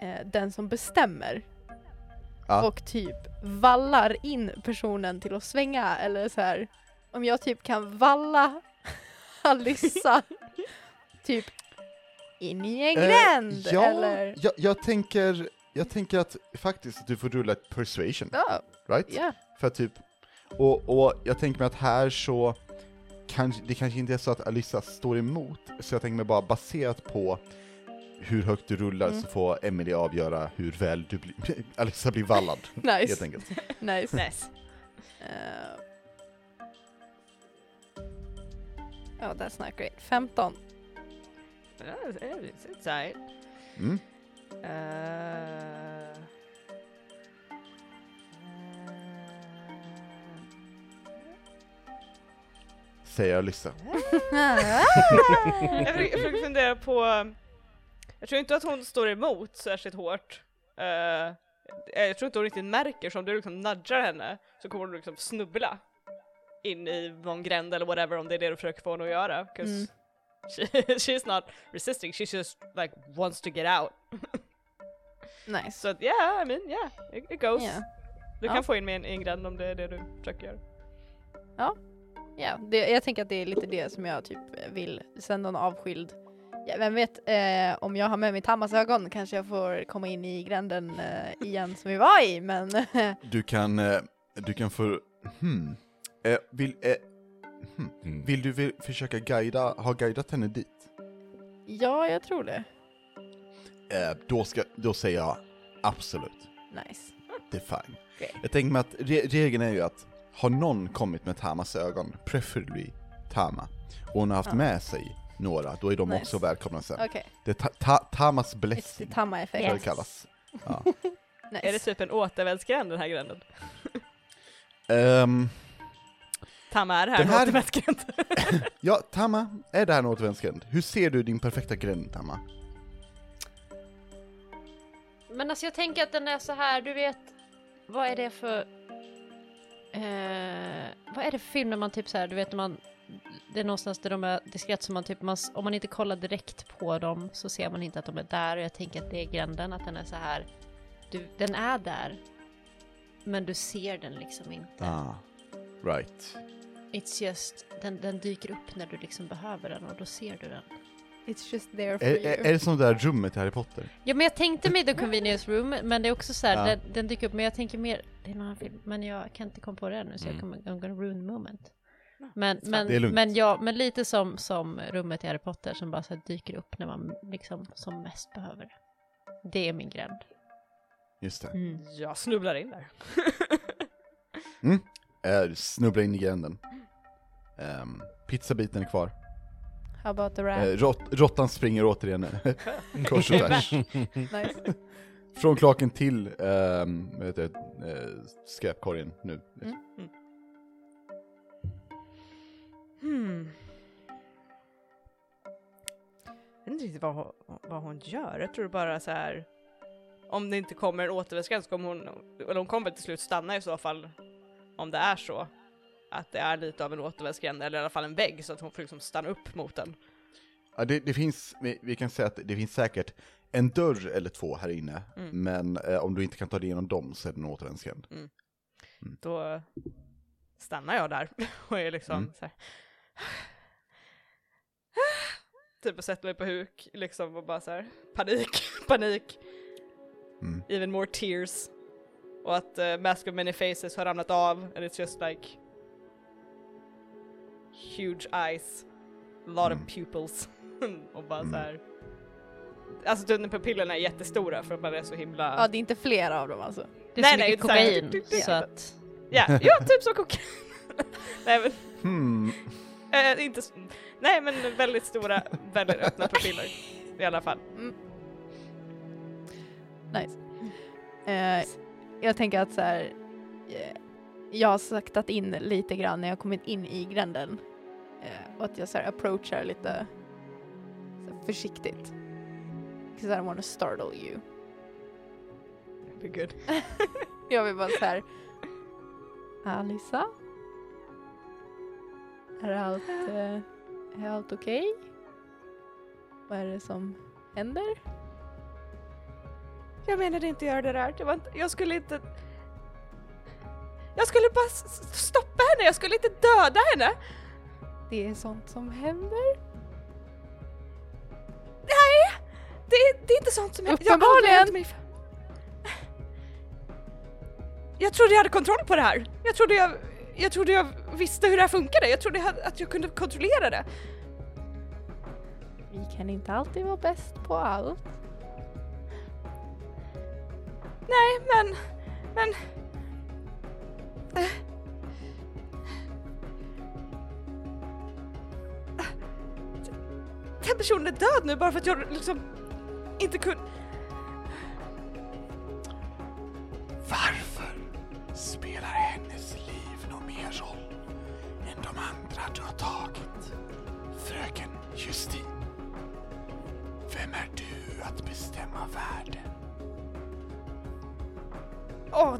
Speaker 5: eh, den som bestämmer.
Speaker 2: Ja.
Speaker 5: Och typ vallar in personen till att svänga eller så här. Om jag typ kan valla Alissa typ in i en gränd
Speaker 2: Eh, ja,
Speaker 5: eller...
Speaker 2: jag, jag, tänker, jag tänker att faktiskt du får rulla ett persuasion,
Speaker 5: Ja,
Speaker 2: right?
Speaker 5: ja.
Speaker 2: För att typ, och, och jag tänker mig att här så, kanske, det kanske inte är så att Alissa står emot, så jag tänker mig bara baserat på hur högt du rullar
Speaker 5: Mm.
Speaker 2: så får Emily avgöra hur väl du blir, Alissa blir vallad, helt
Speaker 5: Nice,
Speaker 2: enkelt.
Speaker 5: nice.
Speaker 4: Nice.
Speaker 5: Eh. Ja, that's not great. 15.
Speaker 4: Ja, det är- det är tight.
Speaker 2: Mm.
Speaker 4: Eh. eh.
Speaker 2: Säger Alissa.
Speaker 4: jag försöker- jag försöker fundera på, jag tror inte att hon står emot särskilt hårt. Eh, eh, jag tror inte hon riktigt märker, så om du liksom nudgar henne så kommer hon liksom snubbla in i någon gränd eller whatever om det är det du försöker få henne att göra. 'cause
Speaker 5: Mm.
Speaker 4: she, she's not resisting, she just like wants to get out.
Speaker 5: nice.
Speaker 4: Så att yeah, I mean yeah, it, it goes.
Speaker 5: Ja,
Speaker 4: Du
Speaker 5: Ja.
Speaker 4: kan få in mig i en- i en gränd om det är det du försöker göra.
Speaker 5: ja det, jag tänker att det är lite det som jag typ vill. Sen någon avskild. Ja, vem vet, eh, om jag har med mig Tammas ögon kanske jag får komma in i gränden eh, igen som vi var i, men...
Speaker 2: Du kan, eh, du kan få, hmm, eh, vill, eh, hmm.
Speaker 1: Mm.
Speaker 2: vill du vill, försöka guida, ha guidat henne dit?
Speaker 5: ja, jag tror det.
Speaker 2: Eh, då, ska, då säger jag absolut,
Speaker 5: Nice.
Speaker 2: det är fine.
Speaker 5: Okej.
Speaker 2: Jag tänker mig att re- regeln är ju att har någon kommit med Tamas ögon, preferably Tama, och hon har haft
Speaker 5: Ja.
Speaker 2: med sig några, då är de
Speaker 5: Nice.
Speaker 2: också välkomna sen.
Speaker 5: Okej,
Speaker 2: Det är ta- ta- Tamas
Speaker 5: it's the
Speaker 2: blessing,
Speaker 5: Tamma-effekt.
Speaker 2: så det kallas. Ja.
Speaker 5: Nice.
Speaker 4: Är det typ en återvändsgränd den här gränden?
Speaker 2: Ehm,
Speaker 4: Tam är här,
Speaker 2: Den
Speaker 4: en
Speaker 2: här-
Speaker 4: återvändsgränd.
Speaker 2: ja, Tama, är det här en återvändsgränd? Hur ser du din perfekta gränd, Tama?
Speaker 3: Men alltså jag tänker att den är så här, du vet, vad är det för... Eh, vad är det för film när man typ så här, du vet när man... Det är någonstans där de är diskret som man typ, man, om man inte kollar direkt på dem så ser man inte att de är där och jag tänker att det är gränden, att den är så här. Du, den är där. Men du ser den liksom inte.
Speaker 2: Ah, right.
Speaker 3: It's just, den, den dyker upp när du liksom behöver den och då ser du den.
Speaker 5: It's just there for
Speaker 2: Är,
Speaker 5: you.
Speaker 2: är, är det som det där rummet i Harry Potter?
Speaker 3: Ja men jag tänkte mig The Convenience Room men det är också så här,
Speaker 2: Ja.
Speaker 3: den, den dyker upp men jag tänker mer, det är en annan film, men jag kan inte komma på det ännu så jag
Speaker 1: Mm.
Speaker 3: kommer, I'm gonna ruin the moment. Men, men,
Speaker 2: Det är lugnt.
Speaker 3: men, ja, men lite som, som rummet i Harry Potter som bara så här dyker upp när man liksom som mest behöver det. Det är min gränd.
Speaker 2: Just det.
Speaker 3: Mm.
Speaker 4: Jag snubblar in där.
Speaker 5: Mm.
Speaker 2: Eh, snubbla in i gränden. Ehm, pizzabiten är kvar.
Speaker 5: How about the rat?
Speaker 2: Eh, rått, råttan springer återigen kors och tvärs.
Speaker 5: nice.
Speaker 2: Från klaken till ehm, vad heter det, eh, skräpkorgen nu.
Speaker 4: Hmm. Jag vet inte riktigt vad, hon- vad hon gör. Jag tror bara så här. Om det inte kommer en återvändsgränd så kommer hon, eller hon kommer väl till slut stanna i så fall. Om det är så. Att det är lite av en återvändsgränd eller i alla fall en vägg så att hon får liksom stanna upp mot den.
Speaker 2: Ja, det, det finns, vi, vi kan säga att det finns säkert en dörr eller två här inne,
Speaker 4: Mm.
Speaker 2: men eh, om du inte kan ta dig igenom dem så är det en återvändsgränd.
Speaker 4: Då stannar jag där och är liksom
Speaker 2: Mm.
Speaker 4: så här. Typ och sätter mig på huk liksom och bara så här panik, panik.
Speaker 2: Mm.
Speaker 4: even more tears. Och att eh, Mask of Many Faces har ramlat av and it's just like huge eyes, lot
Speaker 2: Mm.
Speaker 4: of pupils. och bara
Speaker 2: Mm.
Speaker 4: så här. Alltså den pupillerna är jättestora för att man är så himla...
Speaker 5: Ja, det är inte flera av dem alltså.
Speaker 3: Det är
Speaker 4: Nej,
Speaker 3: så
Speaker 4: nej,
Speaker 3: mycket
Speaker 4: exakt.
Speaker 3: kokain så att...
Speaker 4: Ja, ja typ som kokain. nej, men,
Speaker 2: Hmm.
Speaker 4: eh, inte, s- nej men väldigt stora, väldigt öppna pupiller i alla fall. Mm.
Speaker 5: Nice. Eh, jag tänker att så här, eh, jag har saktat in lite grann när jag kommit in i gränden. Eh, och att jag så här approachar lite så här, försiktigt. Because I don't want to startle you.
Speaker 4: Be good.
Speaker 5: Jag vill bara så här. Alisa? Är allt, eh, är allt okej? Vad är det som händer?
Speaker 4: Jag menade inte göra det där. Det var inte, jag skulle inte... Jag skulle bara s- s- stoppa henne, jag skulle inte döda henne!
Speaker 5: Det är sånt som händer.
Speaker 4: Nej! Det, är- det är inte sånt som jag- jag
Speaker 5: Uppenbarligen.
Speaker 4: aldrig hänt mig för- Jag trodde jag hade kontroll på det här. Jag trodde jag, jag, trodde jag visste hur det här funkade. Jag trodde jag, hade- att jag kunde kontrollera det.
Speaker 5: Vi kan inte alltid vara bäst på allt.
Speaker 4: Nej, men... Men... Eh. Den personen är död nu bara för att jag liksom inte kunde...
Speaker 2: Varför spelar hennes liv någon mer roll än de andra du har tagit? Fröken Justin. Vem är du att bestämma värde?
Speaker 4: Åh!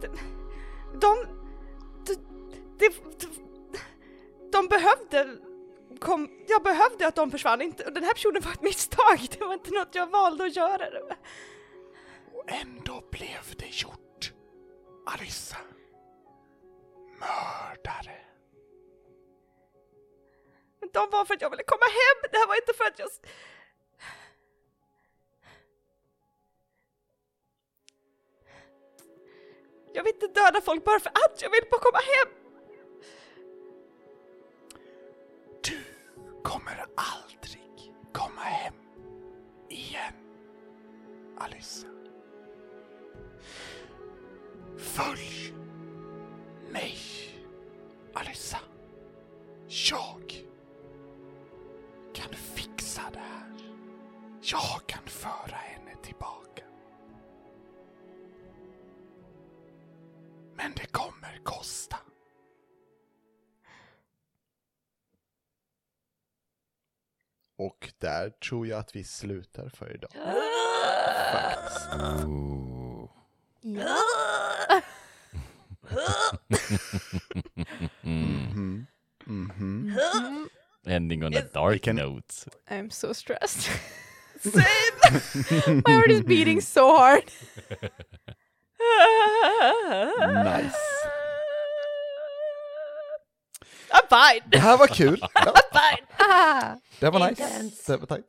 Speaker 4: De... De... De, de, de behövde... Kom, jag behövde att de försvann, inte, och den här personen var ett misstag, det var inte något jag valde att göra. Det.
Speaker 2: Och ändå blev det gjort. Arissa. Mördare.
Speaker 4: Men de var för att jag ville komma hem, det här var inte för att jag... s- Jag vill inte döda folk bara för att, jag vill bara komma hem!
Speaker 2: Du kommer aldrig komma hem igen, Alissa. Följ mig, Alissa. Jag kan fixa det här. Jag kan föra henne tillbaka. Men det kommer kosta. Och där tror jag att vi slutar för idag. Faktiskt. Mhm. Mhm.
Speaker 1: Ending on a
Speaker 2: Vi
Speaker 1: dark
Speaker 2: kan-
Speaker 1: note.
Speaker 5: I'm so stressed.
Speaker 4: Save!
Speaker 5: My heart is beating so hard.
Speaker 2: Nice.
Speaker 4: I'm fine!
Speaker 2: Det här var kul. Ja,
Speaker 5: Ah.
Speaker 2: det här var nice. Det här var tajt.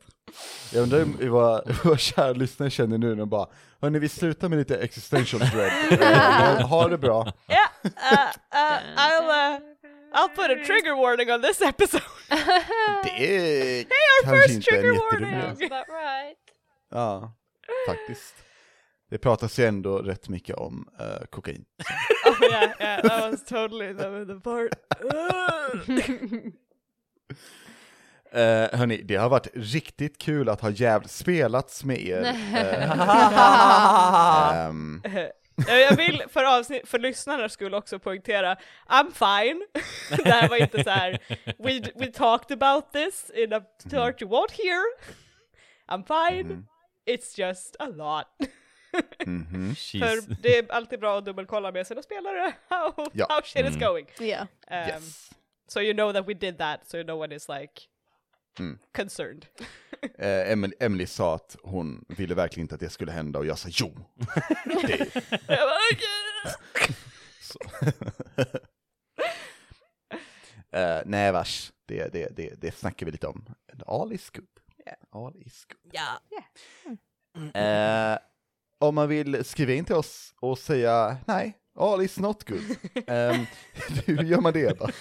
Speaker 2: Jag undrar hur våra, hur våra kära lyssnare känner nu när de bara Hörni, vi slutar med lite existential dread. Eh, ha det bra.
Speaker 4: Yeah, uh, uh, I'll, uh, I'll put a trigger warning on this episode.
Speaker 2: Det är
Speaker 4: first
Speaker 2: kanske inte en
Speaker 4: trigger
Speaker 2: jättedum
Speaker 4: warning.
Speaker 2: idé.
Speaker 3: Sounds about right.
Speaker 2: Ja, faktiskt. Det pratas ju ändå rätt mycket om eh, kokain.
Speaker 4: yeah, yeah, that was totally the, the part.
Speaker 2: Uh, hörni, det har varit riktigt kul att ha jävligt spelats med er. Eh, ehm,
Speaker 4: Ja, Jag vill för, avsnitt, för lyssnarnas skull också poängtera, I'm fine. Det här var inte så här, we, we talked about this in a part
Speaker 2: Mm.
Speaker 4: you won't hear. I'm fine,
Speaker 2: Mm-hmm.
Speaker 4: it's just a lot.
Speaker 2: mhm.
Speaker 1: She's...
Speaker 4: För det är alltid bra att dubbelkolla med sina spelare, how,
Speaker 2: Ja. Mm.
Speaker 4: how shit is going.
Speaker 5: Yeah.
Speaker 4: Um,
Speaker 2: Yes.
Speaker 4: So you know that we did that, so no one is like
Speaker 2: Mm.
Speaker 4: concerned.
Speaker 2: Eh, Emily, Emily sa att hon ville verkligen inte att det skulle hända och jag sa jo. det.
Speaker 4: Jag bara, "Okej."
Speaker 2: Så. Eh, nej vars, det, det, det, det snackar vi lite om. All is good. All is good. Eh, om man vill skriva in till oss och säga nej, all is not good. Ehm, hur gör man det då?
Speaker 5: Uh,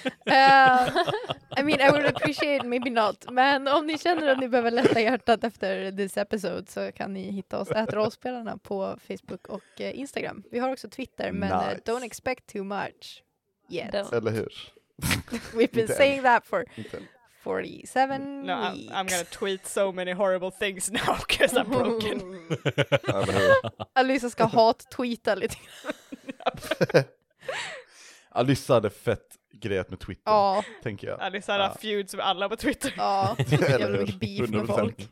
Speaker 5: I mean, I would appreciate maybe not. Men om ni känner att ni behöver lätta hjärtat efter this episode så kan ni hitta oss, att rollspelarna, på Facebook och eh, Instagram. Vi har också Twitter, men eh,
Speaker 2: Nice.
Speaker 5: don't expect too much. Yet.
Speaker 3: Don't.
Speaker 2: Eller hur?
Speaker 5: We've
Speaker 2: Inte
Speaker 5: been
Speaker 2: än.
Speaker 5: saying that for,
Speaker 2: Inte än.
Speaker 5: 47
Speaker 4: No, I'm,
Speaker 5: weeks.
Speaker 4: I'm gonna tweet so many horrible things now because I'm broken.
Speaker 2: Ja, men hur?
Speaker 5: Alyssa ska hat-tweeta lite grann.
Speaker 2: Alyssa hade fett grejat med Twitter,
Speaker 5: Ja,
Speaker 2: tänker jag.
Speaker 4: Alice har
Speaker 2: Ja.
Speaker 4: haft feuds med alla på Twitter.
Speaker 5: ja.
Speaker 2: Eller
Speaker 5: Jävla
Speaker 2: hur?
Speaker 5: mycket beef med
Speaker 2: 100%.
Speaker 5: folk.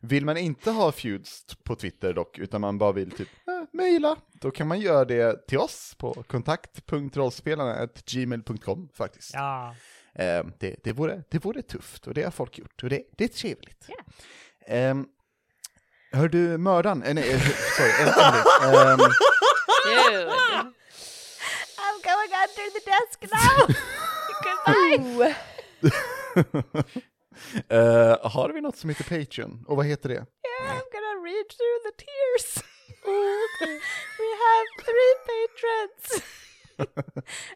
Speaker 2: Vill man inte ha feuds t- på Twitter dock, utan man bara vill typ eh, mejla, då kan man göra det till oss på kontakt.rollspelarna.gmail.com faktiskt.
Speaker 7: Ja.
Speaker 2: Eh, det, det, vore, det vore tufft och det har folk gjort och det, det är trevligt. Yeah. hör du mördaren? Eh, nej, eh, sorry, Emily. Ehm,
Speaker 3: Dude.
Speaker 4: I'm going under the desk now!
Speaker 5: Oh.
Speaker 2: eh, har vi något som heter Patreon? Och vad heter det?
Speaker 4: I'm gonna read through the tears. We have three patrons.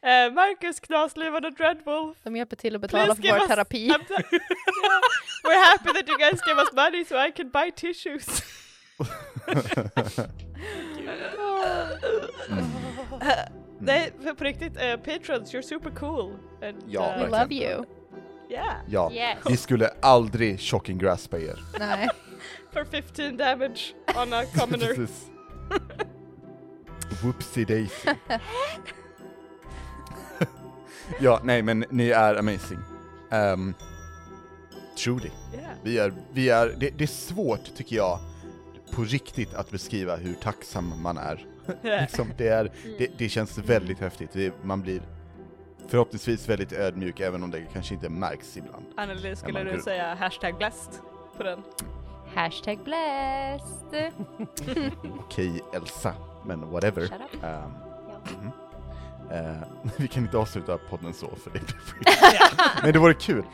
Speaker 4: Eh, Marcus, Knasluvan och Dreadwolf.
Speaker 5: De hjälper till att betala
Speaker 4: Please
Speaker 5: för
Speaker 4: give
Speaker 5: vår
Speaker 4: us-
Speaker 5: terapi.
Speaker 4: I'm t- Yeah. We're happy that you guys give us money so I can buy tissues. Eh, Nej, för Oh. på riktigt, eh, patrons, you're super cool. And,
Speaker 2: Ja,
Speaker 5: We
Speaker 4: eh,
Speaker 2: verkligen.
Speaker 5: love you.
Speaker 4: yeah,
Speaker 2: Ja,
Speaker 3: Yes.
Speaker 2: vi skulle aldrig shocking graspa er.
Speaker 5: Nej.
Speaker 4: for 15 damage on a commoner.
Speaker 2: Precis. Whoopsie daisy. ja, nej men ni är amazing. Um, Trudy.
Speaker 4: yeah.
Speaker 2: Vi är, vi är, det, det är svårt tycker jag, på riktigt att beskriva hur tacksam man är. liksom, det, är
Speaker 3: Mm.
Speaker 2: det, det känns väldigt häftigt, det, man blir förhoppningsvis väldigt ödmjuk även om det kanske inte märks ibland.
Speaker 4: Anneli, skulle
Speaker 2: men
Speaker 4: du
Speaker 2: gud.
Speaker 4: säga hashtag blessed på den?
Speaker 3: Hashtag blessed.
Speaker 2: Okej Elsa, men whatever.
Speaker 3: Shut up.
Speaker 2: Ehm, mhm. Eh, vi kan inte avsluta podden så för det blir Men det vore kul.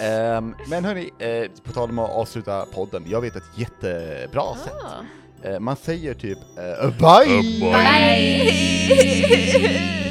Speaker 2: Ehm, men hörni, eh, på tal om att avsluta podden, jag vet ett jättebra sätt.
Speaker 3: Ah.
Speaker 2: Ehm, Eh, man säger typ eh, bye!
Speaker 3: Bye!